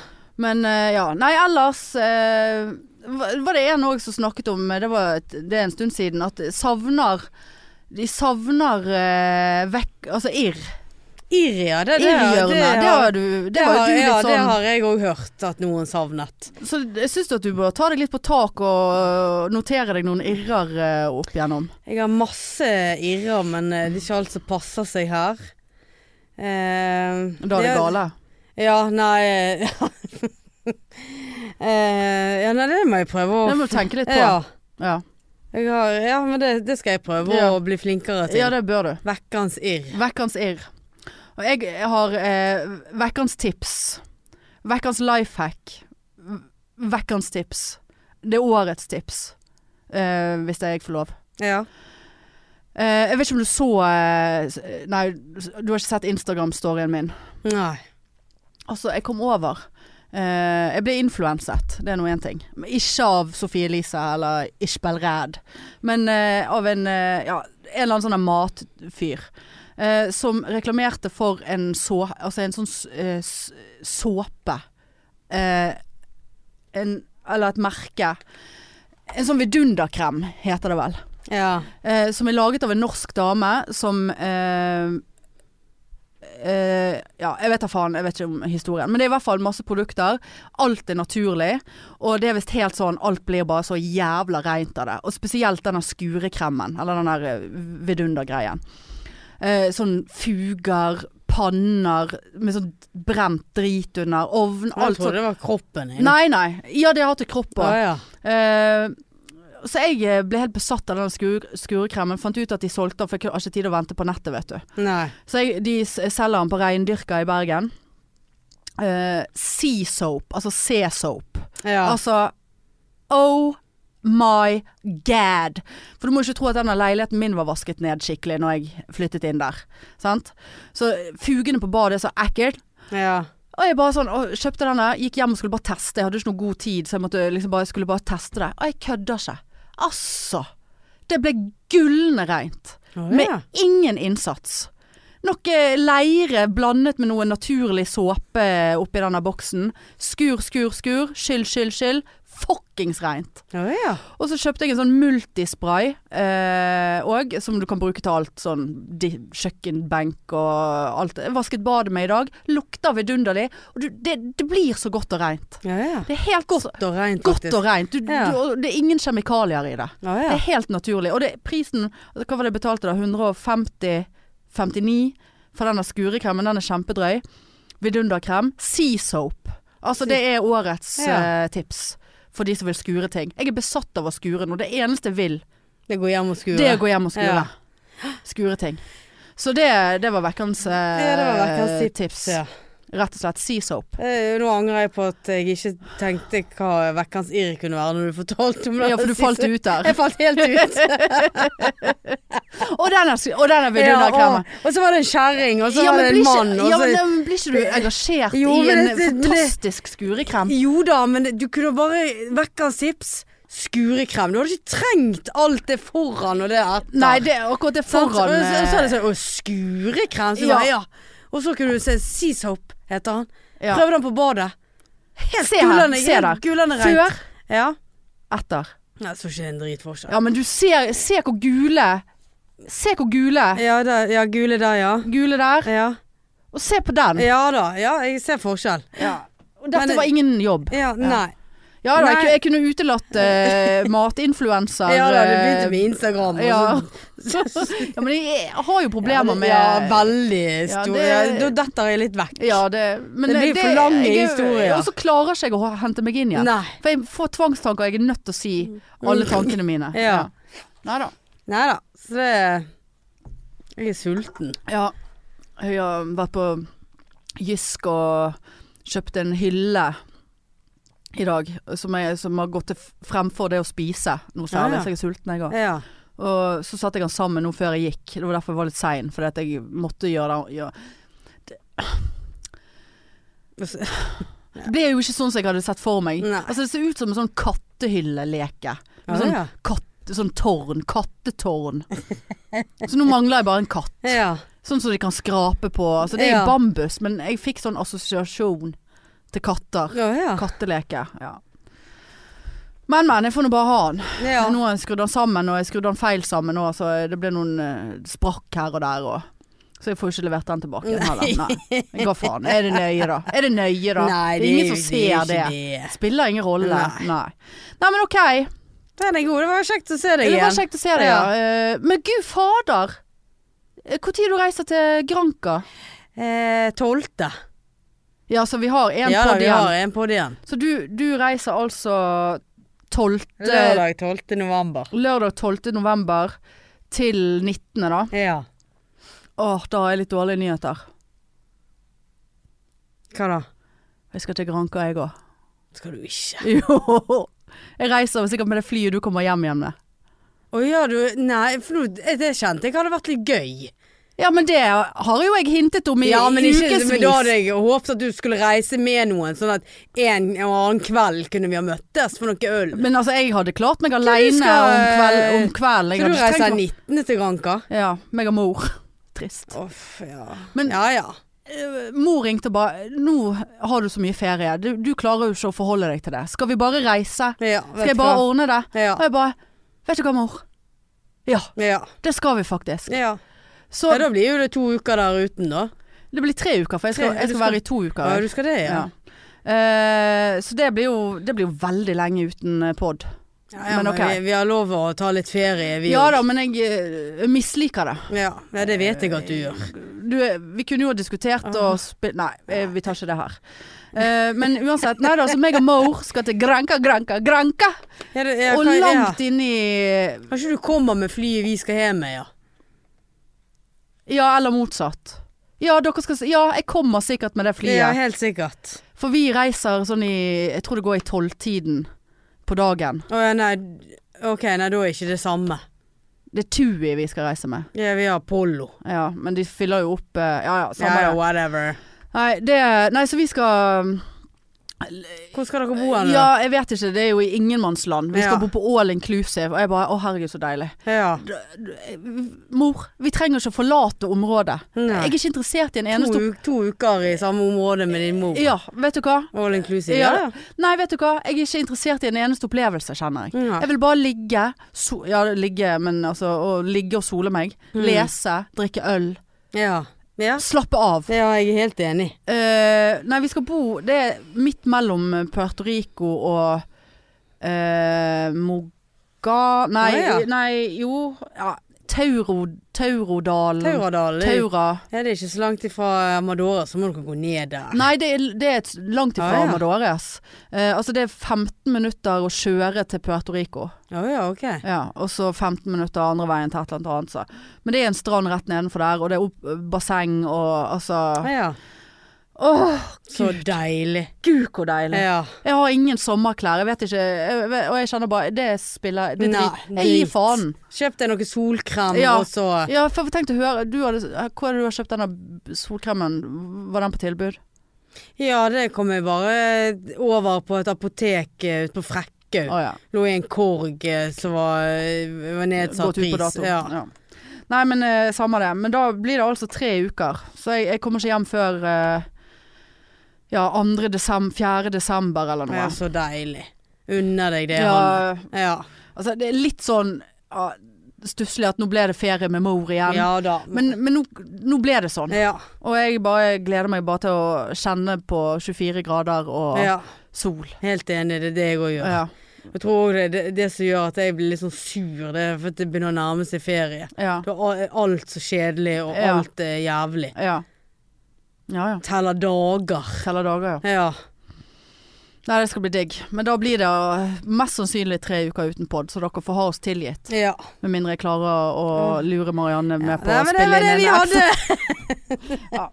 [SPEAKER 1] Men eh, ja, nei ellers eh, var- Var det en òg som snakket om eh, det, var et, det er en stund siden At savner De savner eh, vekk Altså irr
[SPEAKER 2] Irr, ja. Det, det,
[SPEAKER 1] Irrhjørnet Det,
[SPEAKER 2] det,
[SPEAKER 1] har du Det har
[SPEAKER 2] har,
[SPEAKER 1] du
[SPEAKER 2] ja,
[SPEAKER 1] litt
[SPEAKER 2] det
[SPEAKER 1] sånn
[SPEAKER 2] har jeg òg hørt at noen savnet.
[SPEAKER 1] Så jeg synes at du bør ta deg litt på tak Og øh, notere deg noen irrer eh, opp igjennom
[SPEAKER 2] Jeg har masse irrer, men eh, det er ikke alt som passer seg her. Eh,
[SPEAKER 1] Da er det gale
[SPEAKER 2] Ja, nei ja. Eh, ja, nei, det må jeg prøve å
[SPEAKER 1] Det må du tenke litt på
[SPEAKER 2] Ja,
[SPEAKER 1] Ja, ja.
[SPEAKER 2] jeg har, ja men det, det skal jeg prøve
[SPEAKER 1] Ja.
[SPEAKER 2] å bli flinkere til.
[SPEAKER 1] det bør du
[SPEAKER 2] Vekkans irr.
[SPEAKER 1] Vekkans irr Og jeg har eh, vekkans tips. Vekkans life hack. Vekkans tips. Det er årets tips. eh, hvis jeg får lov.
[SPEAKER 2] Ja.
[SPEAKER 1] Eh, jeg vet ikke om du så eh, s- Nei, du har ikke sett Instagram-storyen min.
[SPEAKER 2] Nei.
[SPEAKER 1] Altså, jeg kom over. Eh, jeg ble influenset, det er nå én ting. Men ikke av Sofie Elise eller Ishbel Ræd, men eh, av en, eh, ja, en eller annen sånn der matfyr. eh, som reklamerte for en, så, altså en sånn s- eh, s- såpe. Eh, en, eller et merke. En sånn vidunderkrem, heter det vel.
[SPEAKER 2] Ja.
[SPEAKER 1] Eh, som er laget av en norsk dame som eh, eh, Ja, jeg vet da faen, jeg vet ikke om historien. Men det er i hvert fall masse produkter. Alt er naturlig. Og det er visst helt sånn Alt blir bare så jævla reint av det. Og spesielt denne skurekremen, eller den der eh, vidundergreien. Eh, sånn fuger, panner med sånn brent drit under, ovn,
[SPEAKER 2] Jeg
[SPEAKER 1] alt
[SPEAKER 2] trodde
[SPEAKER 1] sånt.
[SPEAKER 2] det var kroppen din.
[SPEAKER 1] Nei, nei. Ja, det har jeg hatt i kroppen.
[SPEAKER 2] Ja, ja.
[SPEAKER 1] Eh, så jeg eh, ble helt besatt av den skur skurekremen. Fant ut at de solgte den, for jeg har ikke tid å vente på nettet, vet du.
[SPEAKER 2] Nei.
[SPEAKER 1] Så jeg, de s- eh, selger den på Reindyrka i Bergen. Eh, sea soap, altså C-soap.
[SPEAKER 2] Ja.
[SPEAKER 1] Altså Oh my god. For du må ikke tro at denne leiligheten min var vasket ned skikkelig når jeg flyttet inn der. Sant? Så fugene på badet er så ekkelt.
[SPEAKER 2] ja.
[SPEAKER 1] Og jeg bare sånn, og kjøpte denne, gikk hjem og skulle bare teste. Jeg hadde ikke noe god tid, så jeg måtte liksom bare, skulle bare teste det. Og jeg kødder ikke. Altså! Det ble gullende reint.
[SPEAKER 2] Å,
[SPEAKER 1] Med
[SPEAKER 2] ja.
[SPEAKER 1] ingen innsats. Noe leire blandet med noe naturlig såpe oppi denne boksen. Skur, skur, skur. Skyll, skyll, skyll. Fuckings reint.
[SPEAKER 2] Å, ja.
[SPEAKER 1] Og så kjøpte jeg en sånn multispray eh, og, som du kan bruke til alt. Sånn di kjøkkenbenk og alt. Jeg vasket badet med i dag. Lukter vidunderlig. Og du, det, det blir så godt og rent.
[SPEAKER 2] Ja, ja.
[SPEAKER 1] Det er helt godt,
[SPEAKER 2] Godt og rent,
[SPEAKER 1] godt
[SPEAKER 2] faktisk.
[SPEAKER 1] og rent. Du,
[SPEAKER 2] Ja.
[SPEAKER 1] du, og det er ingen kjemikalier i det.
[SPEAKER 2] Ja,
[SPEAKER 1] Det
[SPEAKER 2] ja.
[SPEAKER 1] er helt naturlig. Og det, prisen altså, Hva var det jeg betalte da? 150-59 for denne skurekremen. Den er kjempedrøy. Vidunderkrem. Sea soap. Altså det er årets
[SPEAKER 2] Ja.
[SPEAKER 1] eh, tips for de som vil skure ting. Jeg er besatt av å skure nå. Det eneste jeg vil,
[SPEAKER 2] Det går hjem og skure.
[SPEAKER 1] det er å gå hjem og skure.
[SPEAKER 2] Ja.
[SPEAKER 1] Skure ting. Så det, det var vekkens eh,
[SPEAKER 2] Ja, det var vekkens tips, ja.
[SPEAKER 1] Rett og slett sea soap.
[SPEAKER 2] Eh, Nå angrer jeg på at jeg ikke tenkte hva vekkens irr kunne være når du fortalte om det.
[SPEAKER 1] Ja, for du falt ut der.
[SPEAKER 2] Jeg falt helt ut.
[SPEAKER 1] Og den er, sk- og den er
[SPEAKER 2] og,
[SPEAKER 1] vidunderkremen.
[SPEAKER 2] og så var det en kjerring, og så
[SPEAKER 1] Ja,
[SPEAKER 2] var det
[SPEAKER 1] men
[SPEAKER 2] Altså,
[SPEAKER 1] blir
[SPEAKER 2] en mann.
[SPEAKER 1] ikke,
[SPEAKER 2] Og
[SPEAKER 1] ja,
[SPEAKER 2] så,
[SPEAKER 1] men, men blir ikke du engasjert
[SPEAKER 2] Jo,
[SPEAKER 1] i
[SPEAKER 2] men
[SPEAKER 1] en
[SPEAKER 2] det- det-
[SPEAKER 1] fantastisk skurekrem?
[SPEAKER 2] Jo da, men du kunne bare Vekkens tips skurekrem. Du hadde ikke trengt alt det foran og det etter.
[SPEAKER 1] Nei, det, akkurat det
[SPEAKER 2] Sant?
[SPEAKER 1] foran
[SPEAKER 2] Og så, så er det
[SPEAKER 1] eh,
[SPEAKER 2] sånn Å, skurekrem?
[SPEAKER 1] Ja.
[SPEAKER 2] Så ja. Bare, ja. Og så kunne du se Sea Soap, heter han.
[SPEAKER 1] Ja.
[SPEAKER 2] Prøv den på badet. Helt
[SPEAKER 1] Se her,
[SPEAKER 2] gullende-
[SPEAKER 1] se
[SPEAKER 2] helt
[SPEAKER 1] der.
[SPEAKER 2] gullende rent.
[SPEAKER 1] Før,
[SPEAKER 2] Ja.
[SPEAKER 1] etter.
[SPEAKER 2] Jeg så ikke en dritforskjell.
[SPEAKER 1] Ja, men du ser, se hvor gule Se hvor gule
[SPEAKER 2] Ja, der, ja, gule der, ja.
[SPEAKER 1] Gule der.
[SPEAKER 2] ja.
[SPEAKER 1] Og se på den.
[SPEAKER 2] Ja da, ja, jeg ser forskjell.
[SPEAKER 1] Og Dette
[SPEAKER 2] Men-
[SPEAKER 1] var ingen jobb.
[SPEAKER 2] Ja, nei.
[SPEAKER 1] Ja da, jeg,
[SPEAKER 2] Nei.
[SPEAKER 1] ku- jeg kunne utelatt eh, matinfluenser.
[SPEAKER 2] Ja da, det begynte
[SPEAKER 1] eh,
[SPEAKER 2] med Instagram. og
[SPEAKER 1] ja.
[SPEAKER 2] så-
[SPEAKER 1] ja, men jeg har jo problemer med
[SPEAKER 2] Ja, veldig
[SPEAKER 1] Ja,
[SPEAKER 2] stor. Ja,
[SPEAKER 1] det-
[SPEAKER 2] da detter jeg litt vekk.
[SPEAKER 1] Ja, det, men
[SPEAKER 2] Det blir for lange
[SPEAKER 1] jeg-
[SPEAKER 2] historier.
[SPEAKER 1] Og så klarer ikke jeg å h- hente meg inn igjen.
[SPEAKER 2] Nei.
[SPEAKER 1] For jeg får tvangstanker, og jeg er nødt til å si alle tankene mine.
[SPEAKER 2] Mm. Ja.
[SPEAKER 1] Nei da.
[SPEAKER 2] Nei da, så det Jeg er sulten.
[SPEAKER 1] Ja. Jeg har vært på Jysk og kjøpt en hylle i dag som, jeg, som har gått til f- fremfor det å spise noe
[SPEAKER 2] Ja,
[SPEAKER 1] særlig.
[SPEAKER 2] ja.
[SPEAKER 1] Så jeg er sulten, jeg òg.
[SPEAKER 2] Ja.
[SPEAKER 1] Og så satte jeg den sammen nå før jeg gikk. Det var derfor jeg var litt sein, fordi at jeg måtte gjøre det. gjøre- Det ble jo ikke sånn som jeg hadde sett for meg.
[SPEAKER 2] Nei.
[SPEAKER 1] Altså Det ser ut som en sånn kattehylleleke. Med
[SPEAKER 2] Ja,
[SPEAKER 1] sånn
[SPEAKER 2] ja.
[SPEAKER 1] katt, sånn tårn, kattetårn. Så nå mangler jeg bare en katt.
[SPEAKER 2] ja.
[SPEAKER 1] Sånn som de kan skrape på. Altså, det er
[SPEAKER 2] Ja.
[SPEAKER 1] i bambus, men jeg fikk sånn assosiasjon til katter.
[SPEAKER 2] Ja, ja.
[SPEAKER 1] Katteleke. Ja. Men, men. Jeg får nå bare ha den.
[SPEAKER 2] ja.
[SPEAKER 1] Nå har jeg skrudd den sammen, og jeg skrudde den feil sammen òg, så det ble noen eh, sprakk her og der. Og. Så jeg får ikke levert den tilbake igjen heller. Nei. Men hva faen. Er det nøye, da? Er det nøye, da?
[SPEAKER 2] Nei,
[SPEAKER 1] det er ingen
[SPEAKER 2] jo-
[SPEAKER 1] som
[SPEAKER 2] det er
[SPEAKER 1] ser det.
[SPEAKER 2] ikke det.
[SPEAKER 1] Spiller ingen rolle.
[SPEAKER 2] Nei.
[SPEAKER 1] Nei. Nei. men OK.
[SPEAKER 2] Den er god. Det var kjekt å se deg
[SPEAKER 1] Det
[SPEAKER 2] igjen.
[SPEAKER 1] var kjekt å se deg, ja. Eh, Men gud fader. Når du reiser til Granca?
[SPEAKER 2] Eh, Tolvte.
[SPEAKER 1] Ja, så vi har en
[SPEAKER 2] Ja da,
[SPEAKER 1] podd
[SPEAKER 2] vi
[SPEAKER 1] igjen.
[SPEAKER 2] har en podd igjen.
[SPEAKER 1] Så du, du reiser altså 12. Lørdag.
[SPEAKER 2] Lørdag 12. november.
[SPEAKER 1] 12. november til 19. da.
[SPEAKER 2] Ja.
[SPEAKER 1] Åh, da har jeg litt dårlige nyheter.
[SPEAKER 2] Hva da?
[SPEAKER 1] Jeg skal til Granca, jeg òg.
[SPEAKER 2] Skal du ikke?
[SPEAKER 1] Jo! Jeg reiser sikkert med det flyet du kommer hjem igjen med.
[SPEAKER 2] Å ja, du Nei, for nå- det kjente jeg hadde vært litt gøy.
[SPEAKER 1] Ja, men det har jo jeg hintet om i
[SPEAKER 2] Ja, men, ikke,
[SPEAKER 1] ukevis.
[SPEAKER 2] men da hadde jeg håpet at du skulle reise med noen, sånn at en og annen kveld kunne vi ha møttes for noe øl.
[SPEAKER 1] Men altså, jeg hadde klart meg aleine
[SPEAKER 2] skal-
[SPEAKER 1] om kvelden. Om kvelden. Jeg
[SPEAKER 2] Så du
[SPEAKER 1] hadde ikke
[SPEAKER 2] reiser
[SPEAKER 1] tenkt
[SPEAKER 2] 19. til Granca?
[SPEAKER 1] på- Ja, meg og mor. Trist.
[SPEAKER 2] Uff, ja.
[SPEAKER 1] Men-
[SPEAKER 2] ja ja.
[SPEAKER 1] Eh, Mor ringte og bare 'Nå har du så mye ferie, du, du klarer jo ikke å forholde deg til det. Skal vi bare reise?
[SPEAKER 2] ja
[SPEAKER 1] Skal jeg bare ordne det?'
[SPEAKER 2] Ja.
[SPEAKER 1] Og jeg bare 'Vet du hva, mor? Ja,
[SPEAKER 2] Ja.
[SPEAKER 1] det skal vi faktisk'.
[SPEAKER 2] ja.
[SPEAKER 1] Så
[SPEAKER 2] ja. Da blir jo det to uker der uten, da.
[SPEAKER 1] det blir tre uker, for jeg skal,
[SPEAKER 2] Tre-
[SPEAKER 1] jeg
[SPEAKER 2] du
[SPEAKER 1] skal
[SPEAKER 2] skal-
[SPEAKER 1] være i to uker.
[SPEAKER 2] Ja,
[SPEAKER 1] jeg.
[SPEAKER 2] du skal det, ja.
[SPEAKER 1] Ja. Eh, så det blir, jo, det blir jo veldig lenge uten eh, pod.
[SPEAKER 2] ja, ja
[SPEAKER 1] Men
[SPEAKER 2] men
[SPEAKER 1] ok.
[SPEAKER 2] vi, vi har lov å ta litt ferie, vi
[SPEAKER 1] Ja
[SPEAKER 2] òg.
[SPEAKER 1] da, men jeg eh, misliker det.
[SPEAKER 2] Ja, ja, det vet jeg at du gjør.
[SPEAKER 1] Du, eh, vi kunne jo ha diskutert
[SPEAKER 2] Ah.
[SPEAKER 1] og spilt Nei, eh, vi tar ikke det her. Eh, men uansett. Nei da, så meg og Moore skal til Granka, Granka, Granka!
[SPEAKER 2] Ja, det, ja,
[SPEAKER 1] Og
[SPEAKER 2] hva er det her?
[SPEAKER 1] langt inn i
[SPEAKER 2] Kanskje du kommer med flyet vi skal hjem med, ja.
[SPEAKER 1] Ja, eller motsatt. Ja, dere skal se Ja, jeg kommer sikkert med det
[SPEAKER 2] Ja,
[SPEAKER 1] flyet.
[SPEAKER 2] helt sikkert.
[SPEAKER 1] For vi reiser sånn i Jeg tror det går i tolvtiden på dagen.
[SPEAKER 2] Å ja, nei. d- Ok, nei, da er ikke det samme.
[SPEAKER 1] Det er Tui vi skal reise med.
[SPEAKER 2] Ja, vi har Pollo.
[SPEAKER 1] Ja, men de fyller jo opp eh, Ja ja, samme
[SPEAKER 2] Ja, ja,
[SPEAKER 1] det.
[SPEAKER 2] whatever.
[SPEAKER 1] Nei, det, nei, så vi skal
[SPEAKER 2] Hvor skal dere bo hen? da?
[SPEAKER 1] Ja, jeg vet ikke, det er jo i ingenmannsland. Vi skal
[SPEAKER 2] Ja.
[SPEAKER 1] bo på all inclusive. Og jeg bare Å, herregud, så deilig.
[SPEAKER 2] ja.
[SPEAKER 1] Mor, vi trenger ikke å forlate området.
[SPEAKER 2] Nei.
[SPEAKER 1] Jeg er ikke interessert i en
[SPEAKER 2] To,
[SPEAKER 1] eneste
[SPEAKER 2] u- to uker i samme område med din mor.
[SPEAKER 1] Ja, vet du hva?
[SPEAKER 2] All inclusive.
[SPEAKER 1] Ja.
[SPEAKER 2] Ja, ja.
[SPEAKER 1] Nei, vet du hva? Jeg er ikke interessert i en eneste opplevelse, kjenner jeg.
[SPEAKER 2] Nei.
[SPEAKER 1] Jeg vil bare ligge, so ja ligge, men altså å ligge og sole meg. Lese, drikke øl.
[SPEAKER 2] Ja. Mm. ja.
[SPEAKER 1] Slappe av.
[SPEAKER 2] Ja, jeg er helt enig.
[SPEAKER 1] Eh, nei, vi skal bo Det er midt mellom Puerto Rico og eh, Moga... Nei,
[SPEAKER 2] Å, ja.
[SPEAKER 1] nei jo ja, Tauro, Taurodalen.
[SPEAKER 2] Tauradalen. det er jo-
[SPEAKER 1] Taura.
[SPEAKER 2] Ja, det er ikke så langt ifra Amadora, så må dere gå ned der.
[SPEAKER 1] Nei, det er, det er et langt ifra
[SPEAKER 2] Å, Ah, ja.
[SPEAKER 1] Amadores. Eh, altså det er 15 minutter å kjøre til Puerto Rico.
[SPEAKER 2] Å ja, ok.
[SPEAKER 1] Ja, og så 15 minutter andre veien til et eller annet annet. Så. Men det er en strand rett nedenfor der, og det er opp, eh, basseng og altså
[SPEAKER 2] Ja, ja.
[SPEAKER 1] Åh,
[SPEAKER 2] Så deilig.
[SPEAKER 1] gud hvor deilig.
[SPEAKER 2] Ja.
[SPEAKER 1] Jeg har ingen sommerklær, jeg vet ikke jeg vet, Og jeg kjenner bare Det spiller det
[SPEAKER 2] Nei,
[SPEAKER 1] drit. Jeg gir
[SPEAKER 2] drit.
[SPEAKER 1] faen.
[SPEAKER 2] Kjøp deg noe solkrem,
[SPEAKER 1] Ja.
[SPEAKER 2] og så
[SPEAKER 1] Ja, for jeg tenkte å høre du hadde, Hvor hadde du kjøpt denne solkremen? Var den på tilbud?
[SPEAKER 2] Ja, det kom jeg bare over på et apotek eh, ute på Frekkhaug.
[SPEAKER 1] Å ja.
[SPEAKER 2] Lå i en korg eh, som var, eh, var nedsatt
[SPEAKER 1] Gått ut på dato.
[SPEAKER 2] Ja.
[SPEAKER 1] Ja. Nei, men eh, samme det. Men da blir det altså tre uker. Så jeg, jeg kommer ikke hjem før eh, ja, 2. Desember, 4. desember eller noe.
[SPEAKER 2] ja, så deilig. Unner deg det, Hanne.
[SPEAKER 1] Ja,
[SPEAKER 2] Ja.
[SPEAKER 1] altså, det er litt sånn ja, stusslig at nå ble det ferie med mor igjen.
[SPEAKER 2] ja da.
[SPEAKER 1] Men, men nå, nå ble det sånn.
[SPEAKER 2] ja.
[SPEAKER 1] Og jeg bare gleder meg bare til å kjenne på 24 grader og
[SPEAKER 2] ja.
[SPEAKER 1] sol.
[SPEAKER 2] Helt enig, det er det jeg òg gjør.
[SPEAKER 1] Ja.
[SPEAKER 2] Jeg tror også det, det, det som gjør at jeg blir litt sånn sur, det er for at det begynner å nærme seg ferie.
[SPEAKER 1] Ja.
[SPEAKER 2] Da er al- alt så kjedelig, og
[SPEAKER 1] Ja.
[SPEAKER 2] alt er jævlig.
[SPEAKER 1] Ja. ja ja.
[SPEAKER 2] Teller dager.
[SPEAKER 1] Teller dager, ja.
[SPEAKER 2] Ja.
[SPEAKER 1] Nei, det skal bli digg. Men da blir det eh, mest sannsynlig tre uker uten pod, så dere får ha oss tilgitt.
[SPEAKER 2] ja.
[SPEAKER 1] Med mindre jeg klarer å lure Marianne med på
[SPEAKER 2] Nei,
[SPEAKER 1] å
[SPEAKER 2] Mm. men det
[SPEAKER 1] spille
[SPEAKER 2] var det
[SPEAKER 1] inn
[SPEAKER 2] vi
[SPEAKER 1] en
[SPEAKER 2] hadde.
[SPEAKER 1] OK,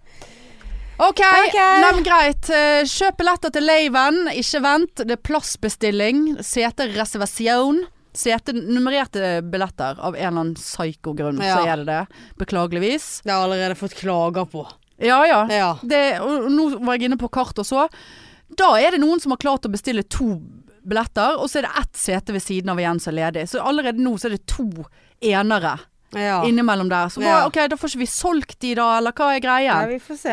[SPEAKER 2] Ok.
[SPEAKER 1] Nei, men greit. Eh, Kjøp billetter til Laven. Ikke vent. Det er plassbestilling. Setereservasjon. Sete nummererte billetter av en eller annen psyko grunn, så
[SPEAKER 2] Ja.
[SPEAKER 1] er det det. Beklageligvis.
[SPEAKER 2] Det har jeg allerede fått klager på.
[SPEAKER 1] Ja ja.
[SPEAKER 2] Ja.
[SPEAKER 1] Det, og nå var jeg inne på kart og så. Da er det noen som har klart å bestille to billetter, og så er det ett sete ved siden av igjen som er ledig. Så allerede nå så er det to enere
[SPEAKER 2] ja.
[SPEAKER 1] innimellom der. Så
[SPEAKER 2] Ja.
[SPEAKER 1] hva, ok, da får ikke vi solgt de da, eller hva er greia?
[SPEAKER 2] Ja, vi får se.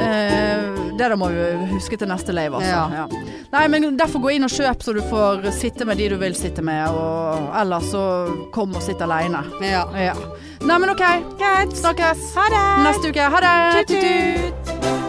[SPEAKER 1] Eh, det da må vi huske til neste lave, altså.
[SPEAKER 2] Ja.
[SPEAKER 1] Ja. Nei, men derfor gå inn og kjøp, så du får sitte med de du vil sitte med, og ellers så kom og sitt aleine.
[SPEAKER 2] Ja.
[SPEAKER 1] Ja. Nei, men OK.
[SPEAKER 2] Greit.
[SPEAKER 1] Snakkes
[SPEAKER 2] Ha det!
[SPEAKER 1] neste uke. Ha det!
[SPEAKER 2] Tut-tut!